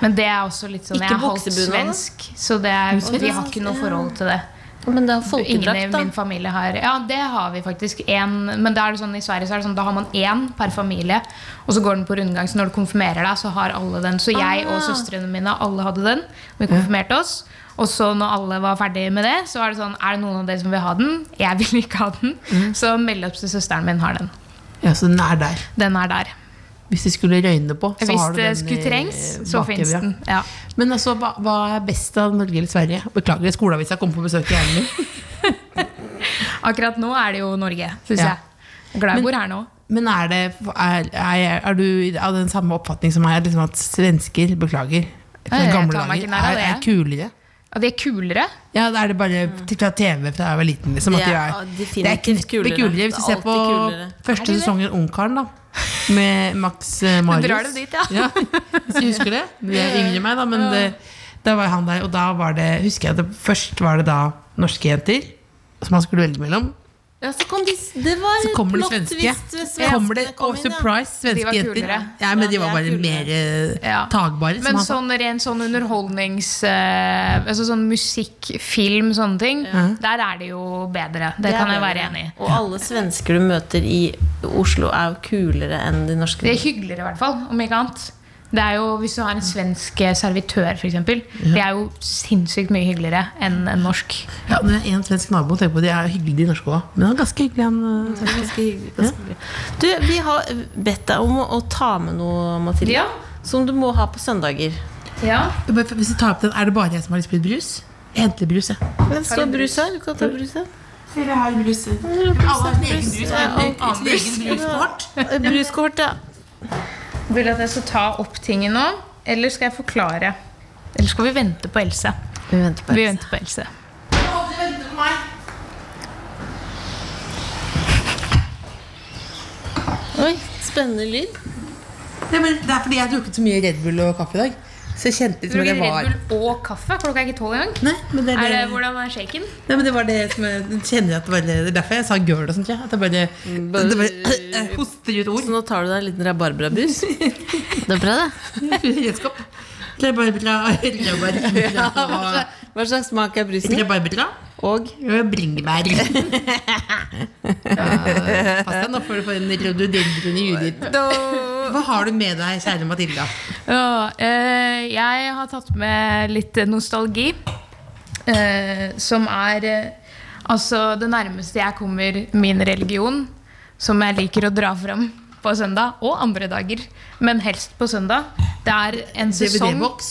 Speaker 4: Men det er også litt sånn
Speaker 3: Ikke
Speaker 4: Jeg er halvt
Speaker 3: buksebunad, da?
Speaker 4: svensk, så det er, vi har ikke noe forhold til det.
Speaker 3: Men det er
Speaker 4: Ingen i
Speaker 3: folkedrakt, da.
Speaker 4: min familie har Ja, det har vi faktisk. En, men da er det sånn, i Sverige så er det sånn, da har man én per familie, og så går den på rundgang. Så når du konfirmerer deg, så har alle den. Så jeg
Speaker 5: Ah.
Speaker 4: og søstrene mine alle hadde den. Vi konfirmerte oss. Og så når alle var ferdige med det, så var det sånn Er det noen av dere som vil ha den? Jeg vil
Speaker 5: Mm.
Speaker 4: ikke ha den. Så mellomste søsteren min har den.
Speaker 5: Ja, så den er der.
Speaker 4: Den er der.
Speaker 5: Hvis det skulle røyne på, så
Speaker 4: Hvis
Speaker 5: har du
Speaker 4: det
Speaker 5: den
Speaker 4: skulle
Speaker 5: i
Speaker 4: trengs, så fins
Speaker 5: bakevja.
Speaker 4: den. Ja.
Speaker 5: Men altså, hva, hva er best av Norge eller Sverige? Beklager, skoleavisa kom på besøk i hjernen min.
Speaker 4: Akkurat nå er det jo Norge, syns
Speaker 5: Ja.
Speaker 4: jeg. Glad jeg bor her nå.
Speaker 5: Men er, det, er, er, er du av den samme oppfatning som meg, liksom at svensker, beklager, fra
Speaker 4: Nei, jeg
Speaker 5: gamle
Speaker 4: tar meg
Speaker 5: dager,
Speaker 4: ikke nær av
Speaker 5: er, er
Speaker 4: det, Mm.
Speaker 5: kulere?
Speaker 4: Og de er kulere.
Speaker 5: Ja, da er det bare til- fra TV fra jeg var liten, liksom. At
Speaker 3: Det
Speaker 5: de
Speaker 3: er
Speaker 5: er,
Speaker 3: definitivt
Speaker 5: det er kneppe
Speaker 3: kulere.
Speaker 5: kulere.
Speaker 3: Det
Speaker 5: Hvis du
Speaker 3: er
Speaker 5: ser på
Speaker 3: alltid kulere.
Speaker 4: Er
Speaker 5: første
Speaker 4: det det?
Speaker 5: sesongen Ungkaren, da. Med Max eh, Marius.
Speaker 4: drar dem dit, ja.
Speaker 5: Hvis du husker det. Du er yngre enn meg, da, men det, da var han der. Og da var det, husker jeg at det, først var det da norske jenter som han skulle velge mellom.
Speaker 3: Ja, så kom de Det var
Speaker 5: Så kommer det
Speaker 3: plot
Speaker 5: svenske.
Speaker 3: twist hvis
Speaker 5: Ja. Kommer det,
Speaker 3: svenskene kom
Speaker 5: og
Speaker 3: inn, ja.
Speaker 5: surprise,
Speaker 4: De
Speaker 5: svenske
Speaker 4: var
Speaker 5: jenter.
Speaker 4: kulere.
Speaker 5: Ja,
Speaker 3: Ja,
Speaker 5: men de var
Speaker 3: de er
Speaker 5: bare
Speaker 3: kulere.
Speaker 5: mer eh,
Speaker 4: Ja.
Speaker 5: tagbare.
Speaker 4: Men
Speaker 5: som han sa.
Speaker 4: sånn, rent sånn underholdnings... eh, altså sånn musikk, film, sånne ting. Der er det jo bedre. Det,
Speaker 3: Det
Speaker 4: kan
Speaker 3: er det.
Speaker 4: jeg være enig i.
Speaker 3: Og alle svensker du møter i Oslo, er jo kulere enn de norske.
Speaker 4: Det er hyggeligere, i hvert fall. Om ikke annet. Det er jo, Hvis du har en svensk eh, servitør, f.eks. eksempel Det er jo sinnssykt mye hyggeligere enn en norsk.
Speaker 5: Ja, men det er en svensk nabo, tenk på, de er hyggelige, de norske òg. Men han er ganske hyggelig, han. eh,
Speaker 3: Ganske hyggelig, ganske hyggelig. Du, vi har bedt deg om å ta med noe, Mathilde.
Speaker 4: Ja.
Speaker 3: Som du må ha på søndager.
Speaker 4: Ja.
Speaker 5: Jeg bare- Hvis jeg tar opp den, Er det bare jeg som har lyst på litt brus? Jeg henter brus, jeg.
Speaker 3: Men så brus her. Du kan ta brus her. Eh, Bruskort, ja.
Speaker 4: Vil du at jeg skal ta opp tinget nå, eller skal jeg forklare? Eller skal vi vente på Else?
Speaker 3: Vi venter på
Speaker 4: Vi
Speaker 3: det.
Speaker 4: venter på Else.
Speaker 3: Oi, spennende lyd.
Speaker 5: Nei, men det er fordi jeg har drukket så mye Red Bull og kaffe i dag. Så jeg kjente litt som
Speaker 4: Tror
Speaker 5: at
Speaker 4: du
Speaker 5: jeg var
Speaker 4: Red Bull og kaffe? Klokka er ikke tolv engang.
Speaker 5: Nei, men det er det,
Speaker 4: Er det, Eh, hvordan er shaken?
Speaker 5: Nei, men det var det som jeg kjenner at det var det er derfor jeg sa girl og sånt. Ja. At jeg bare,
Speaker 4: Mm,
Speaker 5: det bare [clears throat] jeg hoster ut ord.
Speaker 3: Så nå tar du deg en liten rabarbrabrus. Det er bra, [laughs] det.
Speaker 5: [laughs] Redskap. Rabarbra, rabarbra og
Speaker 3: Hva slags smak er brusen?
Speaker 5: Rabarbra
Speaker 3: Og
Speaker 5: og bringebær. Ja, Pass deg nå for å få en rhododendron i huet ditt. Hva har du med deg, kjære Matilda?
Speaker 4: Ja, eh, jeg har tatt med litt nostalgi. eh, som er eh, altså det nærmeste jeg kommer min religion. Som jeg liker å dra fram på søndag, og andre dager. Men helst på søndag. Det er en sesong,
Speaker 5: DVD-boks?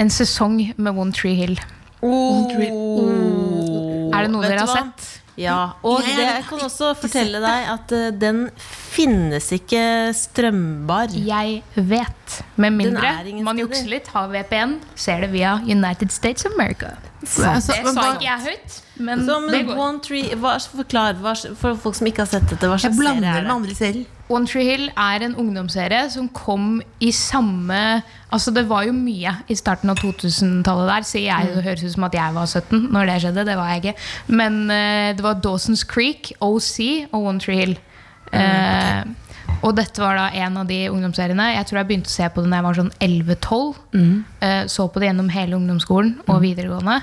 Speaker 4: en sesong med One Tree Hill.
Speaker 3: Oh.
Speaker 4: er det noe
Speaker 3: vet
Speaker 4: dere
Speaker 3: du
Speaker 4: har
Speaker 3: hva?
Speaker 4: sett?
Speaker 3: Ja, og
Speaker 5: Jeg
Speaker 3: det,
Speaker 5: er-
Speaker 3: jeg kan også fortelle deg at eh, den finnes ikke strømbar.
Speaker 4: Jeg vet. Med mindre
Speaker 3: er ingen
Speaker 4: man
Speaker 3: steder.
Speaker 4: jukser litt, har VPN, ser det via United States of America.
Speaker 5: Altså,
Speaker 4: Det
Speaker 5: men
Speaker 4: sa
Speaker 5: hva-
Speaker 4: ikke jeg høyt, men
Speaker 3: Så,
Speaker 4: det
Speaker 3: Altså, men
Speaker 4: går.
Speaker 3: One Tree, hva, forklar hva, for folk som ikke har sett dette. Hva
Speaker 5: Jeg
Speaker 3: slags serie
Speaker 5: blander
Speaker 3: er
Speaker 5: med
Speaker 3: det?
Speaker 5: andre serier.
Speaker 4: One Tree Hill er en ungdomsserie som kom i samme Altså Det var jo mye i starten av 2000-tallet der, sier jeg. Det høres ut som at jeg var 17 når det skjedde. Det var jeg ikke. Men eh, det var Dawson's Creek, OC og One Tree Hill. Eh, og dette var da en av de ungdomsseriene. Jeg tror jeg begynte å se på det da jeg var sånn 11-12. Eh, så på det gjennom hele ungdomsskolen og videregående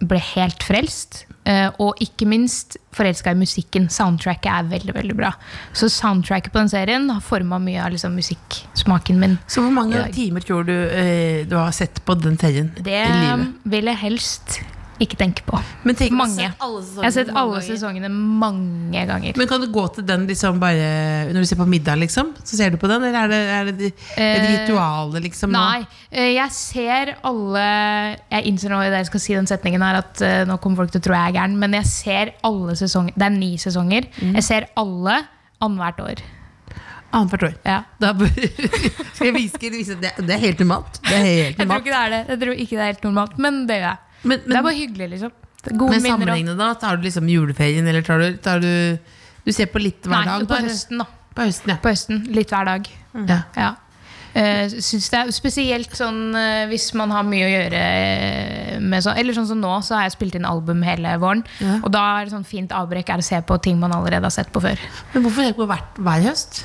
Speaker 4: ble helt frelst. eh, Og ikke minst forelska i musikken. Soundtracket er veldig veldig bra. Så soundtracket på den serien har forma mye av liksom musikksmaken min.
Speaker 5: Så hvor mange
Speaker 4: i dag.
Speaker 5: timer tror du eh, du har sett på den serien?
Speaker 4: Det
Speaker 5: i livet?
Speaker 4: vil jeg helst ikke tenke på.
Speaker 5: Men, tenk,
Speaker 4: Mange.
Speaker 3: Sett alle
Speaker 4: Jeg har sett
Speaker 3: sesongene mange
Speaker 4: alle
Speaker 3: ganger.
Speaker 4: sesongene mange ganger.
Speaker 5: men kan du gå til den liksom bare når du ser på middag, liksom? Så ser du på den, eller er det, er det, er det
Speaker 4: Eh,
Speaker 5: ritualet, liksom? nå?
Speaker 4: Nei. eh, Jeg ser alle Jeg innser nå idet jeg skal si den setningen her at eh, nå kommer folk til å tro jeg er gæren, men jeg ser alle sesonger. Det er ni sesonger.
Speaker 5: Mm.
Speaker 4: Jeg ser alle annethvert år.
Speaker 5: Annethvert år.
Speaker 4: Ja.
Speaker 5: Da bør, [laughs] skal jeg vise, skal jeg vise det, det er helt normalt. Det er helt
Speaker 4: Jeg tror
Speaker 5: normalt.
Speaker 4: ikke det er det. Jeg tror ikke det er helt normalt, men det gjør jeg.
Speaker 5: Men,
Speaker 4: det er
Speaker 5: men,
Speaker 4: bare hyggelig, liksom. Det er Gode
Speaker 5: men
Speaker 4: minner og
Speaker 5: sammenlignende da, tar du liksom juleferien, eller tar du, tar du Du ser på litt hver
Speaker 4: Nei, Mm.
Speaker 5: dag?
Speaker 4: på
Speaker 5: da, eller?
Speaker 4: høsten, da.
Speaker 5: På høsten, ja.
Speaker 4: På høsten. Litt hver dag.
Speaker 5: ja.
Speaker 4: Ja. Eh, synes det er spesielt sånn eh, hvis man har mye å gjøre eh, med sånn Eller sånn som nå, så har jeg spilt inn album hele våren. Og da er det sånn fint avbrekk er å se på ting man allerede har sett på før.
Speaker 5: Men hvorfor ser du på hvert, hver høst?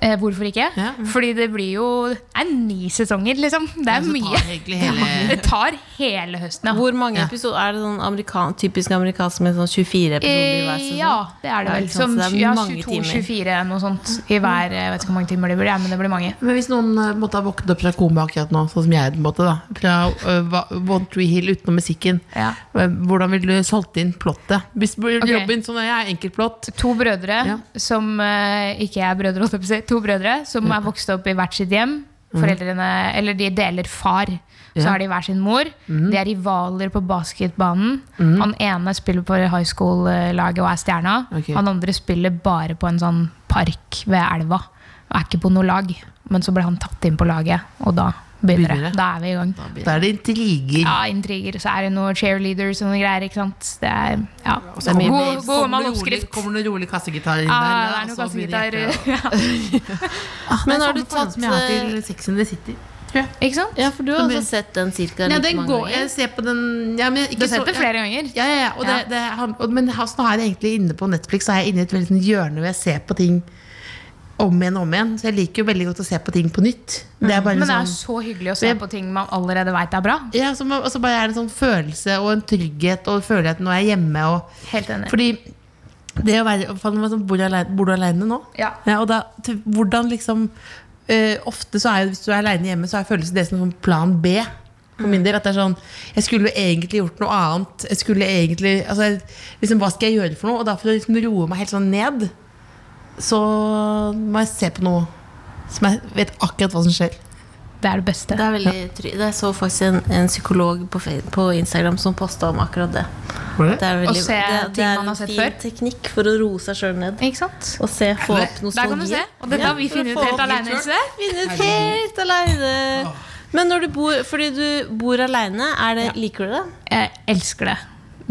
Speaker 4: Eh, hvorfor ikke?
Speaker 5: Ja. Mm.
Speaker 4: Fordi det blir jo Det er ni sesonger, liksom. Det er
Speaker 5: Så
Speaker 4: mye.
Speaker 5: tar jeg Altså, egentlig hele-
Speaker 4: [laughs] Det tar hele høsten, ja.
Speaker 3: Hvor mange
Speaker 5: Ja.
Speaker 3: episoder er det sånn amerikan, typisk amerikansk med sånn 24 episoder i hver
Speaker 4: Eh,
Speaker 3: sesong?
Speaker 4: Ja, det er det
Speaker 3: Ja,
Speaker 4: vel.
Speaker 3: ikke sant,
Speaker 4: Som,
Speaker 3: så det er
Speaker 4: ja,
Speaker 3: mange
Speaker 4: 22,
Speaker 3: timer.
Speaker 4: 24, noe sånt i hver eh, Jeg vet ikke hvor mange timer det blir, ja, men det blir mange.
Speaker 5: Men hvis noen eh, måtte ha våknet opp fra koma akkurat nå, sånn som jeg på en måte da Fra eh, Va- One Tree Hill utenom musikken,
Speaker 4: Ja.
Speaker 5: eh, hvordan ville du solgt inn plottet? Hvis
Speaker 4: Ok.
Speaker 5: Robin, sånn er jeg, enkeltplott.
Speaker 4: To brødre
Speaker 5: Ja.
Speaker 4: som eh, ikke er brødre, holdt jeg på å si, to brødre som er vokst opp i hvert sitt hjem. Foreldrene, eller De deler far. Så har de hver sin mor. De er rivaler på basketbanen. Han ene spiller på high school-laget og er stjerna.
Speaker 5: Ok.
Speaker 4: Han andre spiller bare på en sånn park ved elva. Og er ikke på noe lag. Men så ble han tatt inn på laget, og da begynner,
Speaker 5: Begynner det.
Speaker 4: det. Da er vi i gang.
Speaker 5: Da er det intriger.
Speaker 4: Ja, intriger. Så er det noen cheerleaders og noen greier. ikke sant? Det er, ja.
Speaker 5: Så kommer-
Speaker 4: God, god
Speaker 5: kommer
Speaker 4: gammel
Speaker 5: rolig-
Speaker 4: oppskrift.
Speaker 5: Kommer noen rolig kassegitar inn
Speaker 4: Ah, det
Speaker 5: der?
Speaker 4: er noen
Speaker 5: og så begynner
Speaker 4: kassegitar.
Speaker 5: jeg å-
Speaker 6: Men
Speaker 5: Det er
Speaker 6: har du
Speaker 5: samme forhold
Speaker 6: tatt
Speaker 5: som jeg har til Sex and the City.
Speaker 4: [laughs] Ikke sant?
Speaker 3: Eh, Ja, for du har også sett den cirka
Speaker 5: Ja,
Speaker 3: like
Speaker 5: den
Speaker 3: mange
Speaker 5: går,
Speaker 3: ganger.
Speaker 5: jeg ser på den ja, men ikke
Speaker 4: Du har
Speaker 5: så-
Speaker 4: sett det flere ganger.
Speaker 5: Ja, ja, ja. Og det,
Speaker 4: Ja.
Speaker 5: det, han- og, men altså, nå er jeg egentlig inne på Netflix, så er jeg inne i et veldig sånn hjørne hvor jeg ser på ting om igjen og om igjen. Så jeg liker jo veldig godt å se på ting på nytt. Det er bare
Speaker 4: Mm. Men
Speaker 5: en
Speaker 4: det er
Speaker 5: sånn,
Speaker 4: så hyggelig å se på ting man allerede veit er bra.
Speaker 5: ja, så, og så bare er det en sånn følelse og en trygghet, og føler at nå er jeg hjemme. Og,
Speaker 4: Helt enig.
Speaker 5: fordi det å være for man sånn, bor, du alene, bor du alene nå?
Speaker 4: Ja.
Speaker 5: og da, til, hvordan liksom eh, Ofte så er jo hvis du er alene hjemme, så er følelsen det som sånn plan B. For
Speaker 4: Mm.
Speaker 5: min del, at det er sånn Jeg skulle jo egentlig gjort noe annet. Jeg skulle egentlig altså, jeg, liksom, Hva skal jeg gjøre for noe? Og da for å liksom roe meg helt sånn ned, så må jeg se på noe som jeg vet akkurat hva som skjer.
Speaker 4: Det er det beste.
Speaker 3: Det er veldig try Det så faktisk en, en psykolog på, Fe- på Instagram som posta om akkurat det. Det er, veldig,
Speaker 4: Å se
Speaker 3: det,
Speaker 4: ting
Speaker 3: det er
Speaker 4: man har
Speaker 3: en
Speaker 4: sett
Speaker 3: fin
Speaker 4: før.
Speaker 3: teknikk for å roe seg sjøl ned.
Speaker 4: Ikke sant?
Speaker 3: Og se, få opp nostalgi.
Speaker 4: Der kan du se. Og dette har vi funnet ut helt aleine.
Speaker 3: Finne ut helt aleine. Men når du bor, fordi du bor aleine, liker du det?
Speaker 4: Jeg elsker det.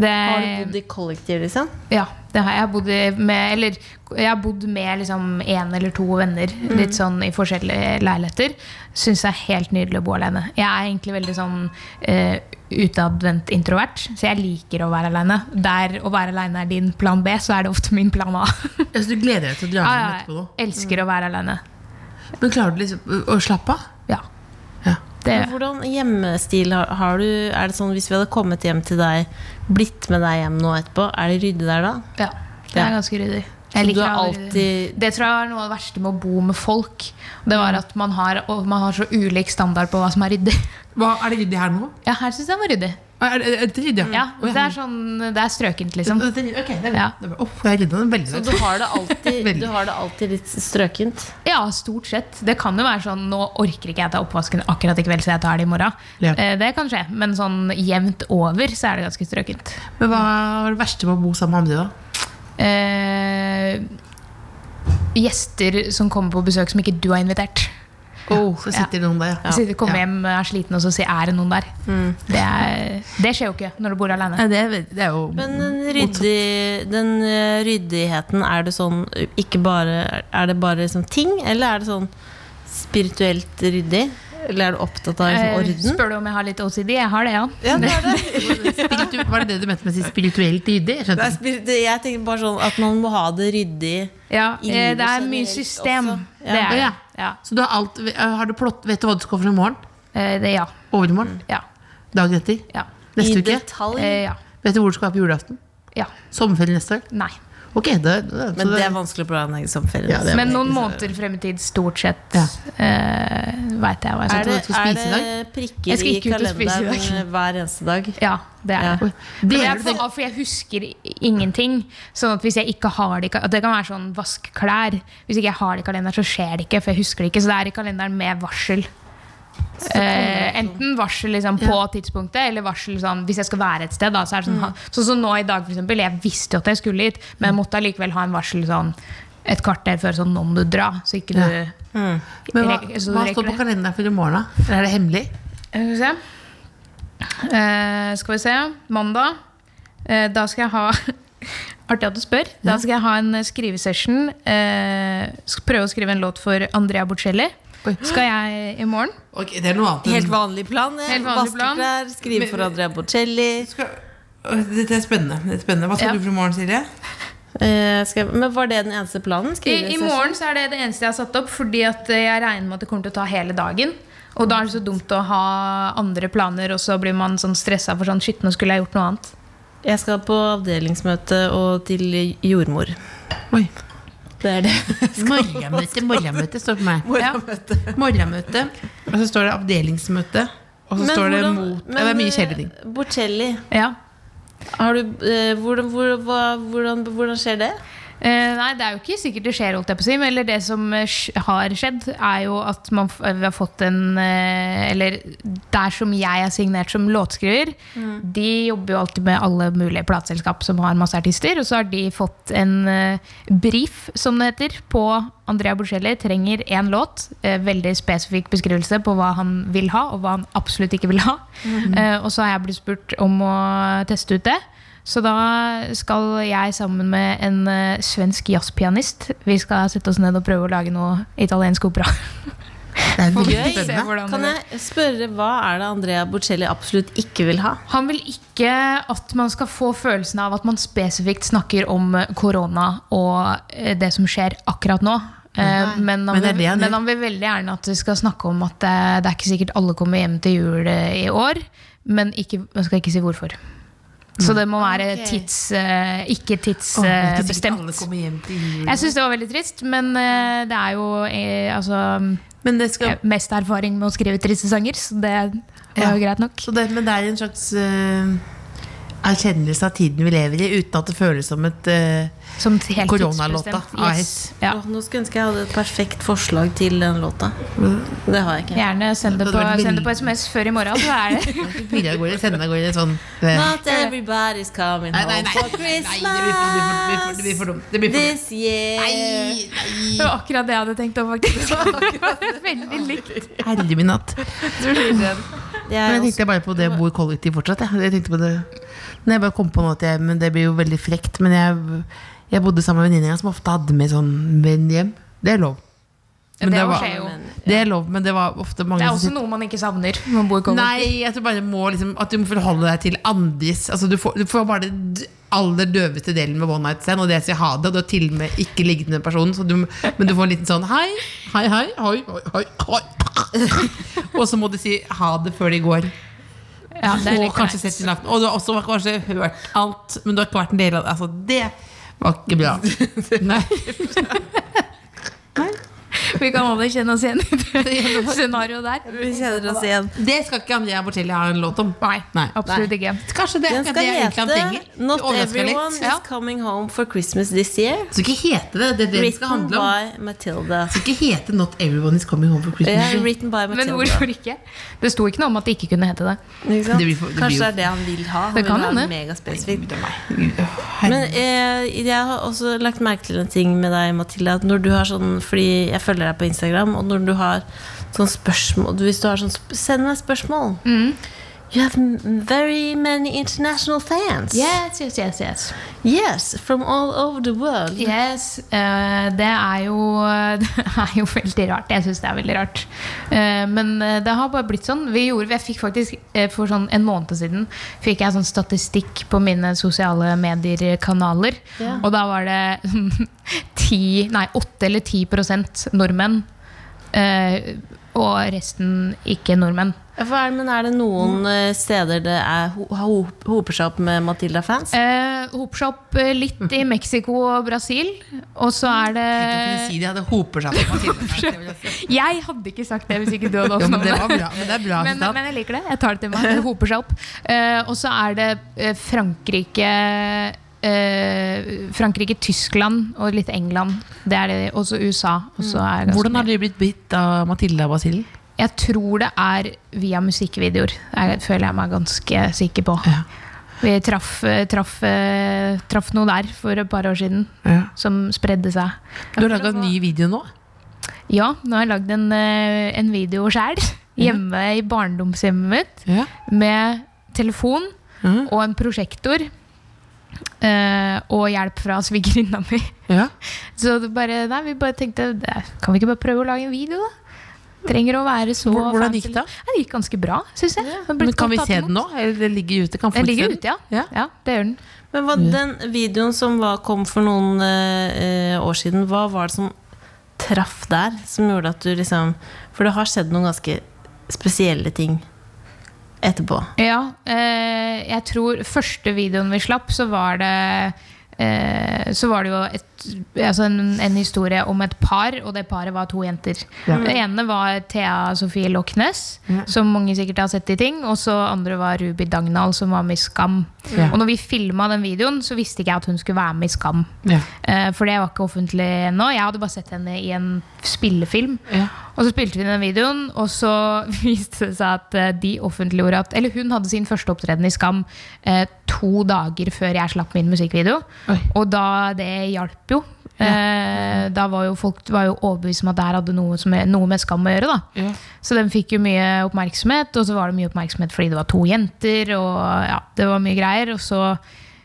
Speaker 4: det
Speaker 3: Har du
Speaker 4: Eh,
Speaker 3: bodd i kollektiv, liksom?
Speaker 4: ja, det har jeg. jeg har bodd i- med Eller jeg har bodd med liksom én eller to venner
Speaker 3: Mm.
Speaker 4: litt sånn i forskjellige leiligheter. Syns det er helt nydelig å bo alene. Jeg er egentlig veldig sånn eh, utadvendt introvert, så jeg liker å være alene. Der å være alene er din plan B, så er det ofte min plan A.
Speaker 5: Ja, så du gleder deg til å dra
Speaker 4: [laughs] Ja,
Speaker 5: hjem
Speaker 4: ja,
Speaker 5: etterpå nå?
Speaker 4: jeg elsker å være alene.
Speaker 5: Men klarer du liksom å- å slappe av?
Speaker 4: Ja.
Speaker 5: Ja.
Speaker 4: Det
Speaker 3: Men Hvordan hjemmestil har, har du? Er det sånn Hvis vi hadde kommet hjem til deg, blitt med deg hjem nå etterpå, er det ryddig der da?
Speaker 4: Ja, det
Speaker 3: Ja.
Speaker 4: er ganske ryddig.
Speaker 3: Så du
Speaker 4: liker
Speaker 3: har
Speaker 4: å være
Speaker 3: alltid-
Speaker 4: ryddig. Det tror jeg er noe av det verste med å bo med folk. Det
Speaker 3: Mm.
Speaker 4: var at man har, og man har så ulik standard på hva som er ryddig.
Speaker 5: Hva, er det ryddig her nå?
Speaker 4: Ja, her syns jeg den var ryddig.
Speaker 5: Er, er, er det ryddig?
Speaker 4: Ja,
Speaker 5: Å, ja.
Speaker 4: det er sånn, det er strøkent, liksom.
Speaker 5: Ok, det er
Speaker 4: Ja.
Speaker 5: det er- Åh, jeg rydda den veldig
Speaker 3: Så
Speaker 5: godt.
Speaker 3: du har det
Speaker 4: [laughs]
Speaker 3: alltid,
Speaker 5: Veldig.
Speaker 3: du har det alltid litt strøkent?
Speaker 4: Ja, stort sett. Det kan jo være sånn nå orker ikke jeg ta oppvasken akkurat i kveld, så jeg tar det i morgen.
Speaker 5: Ja.
Speaker 4: Eh, Det kan skje, men sånn jevnt over så er det ganske strøkent.
Speaker 5: Men hva var det verste med å bo sammen med andre, da?
Speaker 4: Eh, gjester som kommer på besøk som ikke du har invitert.
Speaker 5: Åh, så sitter noen der,
Speaker 4: Ja. Sitter, kommer
Speaker 5: Ja.
Speaker 4: hjem, er sliten og så sier er det noen der. Det, er, det skjer jo ikke når du bor alene.
Speaker 5: Nei, det, er, veld- det er jo
Speaker 3: Men den, ryddig, den eh, ryddigheten, er det sånn ikke bare, Er det bare liksom ting, eller er det sånn spirituelt ryddig? Eller er du opptatt av liksom,
Speaker 4: Eh,
Speaker 3: orden?
Speaker 4: Spør du om jeg har litt OCD? Jeg har det, ja.
Speaker 5: spiritu, Var det det du mente med å si spirituelt ryddig? Jeg
Speaker 3: Det
Speaker 5: skjønte
Speaker 3: er
Speaker 5: ikke.
Speaker 3: spirit- Jeg tenker bare sånn at man må ha det ryddig.
Speaker 4: ja
Speaker 3: I
Speaker 4: eh,
Speaker 3: livet
Speaker 4: det er
Speaker 3: generelt
Speaker 4: mye system.
Speaker 3: også. Ja.
Speaker 4: Det er det.
Speaker 5: Ja.
Speaker 4: Ja.
Speaker 5: Så du har alt eh, Har du plott Vet du hva du skal for i morgen?
Speaker 4: Eh, det, ja.
Speaker 5: Overmorgen?
Speaker 4: Ja.
Speaker 5: Dagen etter?
Speaker 4: Ja.
Speaker 5: Neste
Speaker 3: I
Speaker 5: uke?
Speaker 3: detalj.
Speaker 4: Eh, ja.
Speaker 5: Vet du hvor du skal være på julaften?
Speaker 4: ja.
Speaker 5: Sommerferie neste år?
Speaker 4: Nei.
Speaker 5: Ok, det, det,
Speaker 3: Men
Speaker 5: så
Speaker 3: det er vanskelig å planlegge sommerferie.
Speaker 5: Ja, det er
Speaker 4: Men noen måneder frem i tid, stort sett,
Speaker 5: Ja.
Speaker 4: eh, veit jeg hva jeg
Speaker 3: er
Speaker 4: skal
Speaker 3: det,
Speaker 5: du skal
Speaker 3: er
Speaker 5: spise i dag?
Speaker 3: det
Speaker 4: Jeg
Speaker 3: prikker
Speaker 4: skal
Speaker 3: i
Speaker 4: ikke ut og spise i dag.
Speaker 3: kalenderen [laughs] hver eneste dag?
Speaker 4: Ja, det er
Speaker 3: Ja.
Speaker 4: det. Men
Speaker 5: Deler
Speaker 4: jeg,
Speaker 5: du
Speaker 4: for,
Speaker 5: det?
Speaker 4: for jeg husker ingenting. Sånn at hvis jeg ikke har det i ka- at Det kan være sånn vask klær. Hvis ikke jeg har det i kalenderen, så skjer det ikke. For jeg husker det ikke Så det er i kalenderen med varsel. Eh, enten varsel liksom på tidspunktet, eller varsel sånn hvis jeg skal være et sted. Da, så er
Speaker 5: Mm.
Speaker 4: det sånn, ha- sånn som nå i dag, for eksempel. Jeg visste jo at jeg skulle hit, men
Speaker 5: Mm.
Speaker 4: jeg måtte allikevel ha en varsel sånn et kvarter før sånn nå må du dra. Så ikke du
Speaker 5: Mm. Men hva,
Speaker 4: rekker- så du
Speaker 5: hva
Speaker 4: rekker
Speaker 5: står på
Speaker 4: det.
Speaker 5: kalenderen for i morgen, da? Eller er det hemmelig?
Speaker 4: Skal vi se. Eh, skal vi se. Mandag. Eh, da skal jeg ha [laughs] Artig at du spør. Da skal jeg ha en eh, skrivesession. Eh, sk- prøve å skrive en låt for Andrea Bocelli.
Speaker 5: Oi.
Speaker 4: Skal jeg i morgen.
Speaker 5: Ok, det er noe annet. enn-
Speaker 3: Helt vanlig plan. jeg.
Speaker 4: Helt vanlig plan.
Speaker 3: Vaskeklær, skrive for Andrea Bocelli.
Speaker 5: Skal, Åh, dette er spennende. Dette er spennende. Hva skal
Speaker 4: Ja.
Speaker 5: du for i morgen, Silje?
Speaker 3: Eh, skal, jeg- men var det den eneste planen?
Speaker 4: I,
Speaker 3: Skrive
Speaker 4: I
Speaker 3: session?
Speaker 4: morgen så er det det eneste jeg har satt opp, fordi at eh, jeg regner med at det kommer til å ta hele dagen. Og da er det så dumt å ha andre planer, og så blir man sånn stressa for sånn Shit, nå skulle jeg gjort noe annet.
Speaker 3: Jeg skal på avdelingsmøte og til jordmor.
Speaker 5: Oi.
Speaker 3: Det er det.
Speaker 5: Morgenmøte, morgenmøte står det på meg. Morgenmøte, og så står det avdelingsmøte. Og så
Speaker 3: Men
Speaker 5: står det
Speaker 3: hvordan-
Speaker 5: mot ja,
Speaker 3: men,
Speaker 5: Det er mye kjedelige ting.
Speaker 3: eh, Bocelli,
Speaker 4: Ja.
Speaker 3: har du, eh, hvordan, hvor, hva, hvordan, hvordan skjer det?
Speaker 4: Eh, nei, Det er jo ikke sikkert det skjer, holdt jeg på å si. Men eller det som eh, sk- har skjedd, er jo at man, f- vi har fått en eh, Eller der som jeg er signert som låtskriver, de jobber jo alltid med alle mulige plateselskap som har masse artister. Og så har de fått en eh, brief, som det heter, på Andrea Bocelli trenger én låt. Eh, veldig spesifikk beskrivelse på hva han vil ha, og hva han absolutt ikke vil ha. Eh, og så har jeg blitt spurt om å teste ut det. Så da skal jeg sammen med en eh, svensk jazzpianist Vi skal sette oss ned og prøve å lage noe italiensk opera.
Speaker 5: Det er
Speaker 4: Får vi
Speaker 5: veldig
Speaker 4: se
Speaker 5: spennende.
Speaker 4: hvordan det
Speaker 3: Kan
Speaker 4: går.
Speaker 3: jeg spørre hva er det Andrea Bocelli absolutt ikke vil ha?
Speaker 4: Han vil ikke at man skal få følelsen av at man spesifikt snakker om eh, korona og eh, det som skjer akkurat nå. Eh, Men han,
Speaker 5: men det er det
Speaker 4: vil,
Speaker 5: han gjør.
Speaker 4: men han vil veldig gjerne at vi skal snakke om at eh, det er ikke sikkert alle kommer hjem til jul eh, i år. Men ikke, man skal ikke si hvorfor. Så det må være
Speaker 3: Ah,
Speaker 4: tids, eh, ikke
Speaker 5: Åh,
Speaker 4: eh,
Speaker 5: vet du, sikkert
Speaker 4: tidsbestemt.
Speaker 5: alle kommer hjem til jul.
Speaker 4: Jeg syns det var veldig trist, men eh, det er jo eh, altså,
Speaker 5: Men det skal
Speaker 4: eh, mest erfaring med å skrive triste sanger, så det var
Speaker 5: Ja.
Speaker 4: jo greit nok.
Speaker 5: Så det, men det er en slags eh, erkjennelse av tiden vi lever i, uten at det føles som et [laughs] eh,
Speaker 4: Som helt
Speaker 5: Koronalåta,
Speaker 4: tidsbestemt.
Speaker 5: Ice.
Speaker 4: Ja.
Speaker 3: Åh, Nå skulle jeg ønske jeg hadde et perfekt forslag til den låta. Det har jeg ikke.
Speaker 4: Gjerne send det,
Speaker 5: Det
Speaker 4: på,
Speaker 5: hadde vært
Speaker 4: send det på
Speaker 5: veldig-
Speaker 4: SMS før i morgen, så
Speaker 5: [laughs]
Speaker 4: er det [laughs]
Speaker 5: Bilde av gårde, sende av gårde sånn eh,
Speaker 3: Not everybody's coming
Speaker 5: Nei, nei,
Speaker 3: home
Speaker 5: nei.
Speaker 3: for
Speaker 5: Nei, det blir for- det blir for- det blir for dumt. Det blir for dumt.
Speaker 3: Christmas this year.
Speaker 4: det var akkurat det jeg hadde tenkt om, [laughs] faktisk. Veldig likt.
Speaker 5: Herre min hatt.
Speaker 3: Det er
Speaker 5: Men jeg
Speaker 3: også
Speaker 5: tenkte bare på det å bo i kollektiv fortsatt. Jeg, jeg tenkte på det Når jeg bare kom på nå at jeg, men Det blir jo veldig frekt, men jeg, jeg bodde sammen med venninna som ofte hadde med sånn venn hjem. Det er lov. Men
Speaker 4: det,
Speaker 5: det, var,
Speaker 4: skjer jo.
Speaker 5: det er lov, men det var ofte mange
Speaker 4: det er
Speaker 5: som
Speaker 4: også
Speaker 5: sitter-
Speaker 4: noe man ikke savner. Man bor i kollektiv.
Speaker 5: Nei, jeg tror bare må liksom, at du må forholde deg til andres altså, du, får, du får bare det d- aller døveste delen med one night stand, og det sier ha det, og du har til og med ikke ligget med personen, så du, men du får en liten sånn hei, hei, hei, hei, hei, hei, hei. [laughs] og så må du si ha det før de går.
Speaker 4: Ja, det er
Speaker 5: og
Speaker 4: litt
Speaker 5: kanskje
Speaker 4: greit.
Speaker 5: sett i natten. Og du har også kanskje hørt alt, men du har ikke vært en del av det. Altså, det var ikke
Speaker 4: [laughs]
Speaker 5: bra. Nei.
Speaker 4: Vi kan alle kjenne oss igjen [laughs] i det scenarioet der.
Speaker 3: Vi kjenner oss igjen.
Speaker 5: Det skal ikke Andrea Bortelli ha en låt om.
Speaker 4: Nei,
Speaker 5: Nei.
Speaker 4: absolutt ikke.
Speaker 5: Kanskje det
Speaker 3: [laughs]
Speaker 5: er
Speaker 3: Den skal
Speaker 5: akkurat det jeg egentlig han
Speaker 3: hete
Speaker 5: trenger. Det
Speaker 3: 'Not
Speaker 5: overrasker meg litt.
Speaker 3: everyone is
Speaker 5: Ja.
Speaker 3: coming home for Christmas this year'.
Speaker 5: Så ikke hete det. Det er det det
Speaker 3: Written
Speaker 5: skal handle om.
Speaker 3: by Matilda.
Speaker 5: Det skal ikke hete 'Not everyone is coming home for Christmas'.
Speaker 3: Ja, written by
Speaker 4: Men
Speaker 3: Matilda.
Speaker 4: hvorfor ikke? Det sto ikke noe om at det ikke kunne hete det.
Speaker 3: Ikke sant?
Speaker 5: Det blir for- det blir
Speaker 3: Kanskje det
Speaker 5: jo-
Speaker 3: er det han vil ha. Han
Speaker 4: Det kan
Speaker 3: vil ha
Speaker 4: hende.
Speaker 3: megaspesifikt. Men
Speaker 5: Herregud.
Speaker 3: eh, jeg har også lagt merke til en ting med deg, Mathilde. At når du har sånn, fordi jeg følger deg på Instagram, og når du har sånn spørsmål du- Hvis du har sånn sp- Send meg spørsmål.
Speaker 5: Mm.
Speaker 3: You have m- very many international fans.
Speaker 4: Yes, yes, yes, yes.
Speaker 3: Yes, from all over the world.
Speaker 4: Yes, eh, det er jo [laughs] Det er jo veldig rart. Jeg syns det er veldig rart. Eh, men eh, det har bare blitt sånn. Vi gjorde, jeg fikk faktisk eh, For sånn en måned siden fikk jeg sånn statistikk på mine sosiale medier-kanaler. Og da var det [laughs] sånn ti, nei, 8 eller 10 nordmenn. eh, og resten ikke nordmenn.
Speaker 3: Hva er, det- men er det noen eh, steder det er ho ho hoper seg opp med Matilda-fans?
Speaker 4: Eh, Hoper seg opp eh, litt [laughs] i Mexico og Brasil. Og så er det
Speaker 5: Tenk å kunne si det, ja, det eh, [laughs] hoper seg opp.
Speaker 4: Jeg hadde ikke sagt det hvis ikke du hadde
Speaker 5: Ja,
Speaker 4: åpnet
Speaker 5: men det
Speaker 4: meg.
Speaker 5: var bra. Men det er bra
Speaker 4: Men,
Speaker 5: sitat.
Speaker 4: men jeg liker det. Jeg tar det til meg. Det hoper seg opp. Eh, og så er det eh, Frankrike eh, Frankrike, Tyskland og litt England. Det er det. Også USA. Også er det ganske
Speaker 5: Hvordan har
Speaker 4: mye.
Speaker 5: du blitt bitt av Matilda og Basillen?
Speaker 4: Jeg tror det er via musikkvideoer. Jeg føler jeg meg ganske sikker på.
Speaker 5: Ja.
Speaker 4: Vi traff, eh, traff, eh, traff noe der for et par år siden
Speaker 5: Ja.
Speaker 4: som spredde seg.
Speaker 5: Du har laga en ny video nå.
Speaker 4: Ja, nå har jeg lagd en, eh, en video sjæl. Hjemme i barndomshjemmet mitt.
Speaker 5: Ja.
Speaker 4: med telefon
Speaker 5: Mhm.
Speaker 4: og en prosjektor. eh, og hjelp fra svigerinna mi. [laughs]
Speaker 5: Ja.
Speaker 4: Så det bare, nei, vi bare tenkte "Nei, Kan vi ikke bare prøve å lage en video, da? Trenger å være så
Speaker 5: Hvor- hvordan
Speaker 4: fancy."
Speaker 5: gikk det?
Speaker 4: Nei, det gikk ganske bra, syns jeg. Det har blitt
Speaker 5: Men kan
Speaker 4: godt
Speaker 5: vi
Speaker 4: tatt
Speaker 5: se den
Speaker 4: imot.
Speaker 5: nå? Eller det ligger ute? Kan folk
Speaker 4: Den ligger
Speaker 5: se den?
Speaker 4: ute, ja.
Speaker 5: Ja.
Speaker 4: ja. det gjør den.
Speaker 3: Men hva, den videoen som var, kom for noen eh, eh, år siden, hva var det som traff der? Som gjorde at du liksom For det har skjedd noen ganske spesielle ting etterpå.
Speaker 4: Ja, eh, jeg tror første videoen vi slapp, så var det eh, så var det jo et altså en, en historie om et par, og det paret var to jenter. Det ene var Thea Sofie Lochnes, som mange sikkert har sett i ting. Og så andre var Ruby Dagnall, som var med i Skam.
Speaker 5: Ja.
Speaker 4: Og når vi filma den videoen, så visste ikke jeg at hun skulle være med i Skam.
Speaker 5: Ja.
Speaker 4: Eh, For det var ikke offentlig ennå. Jeg hadde bare sett henne i en spillefilm.
Speaker 5: Ja.
Speaker 4: Og så spilte vi den videoen, og så [laughs] viste det seg at eh, de offentliggjorde at Eller hun hadde sin første opptreden i Skam eh, to dager før jeg slapp min musikkvideo.
Speaker 5: Oi.
Speaker 4: Og da det hjalp jo. Eh, da var jo folk var jo overbevist om at det her hadde noe, som, noe med skam å gjøre. da
Speaker 5: Ja.
Speaker 4: Så den fikk jo mye oppmerksomhet, og så var det mye oppmerksomhet fordi det var to jenter. Og ja, det var mye greier Og så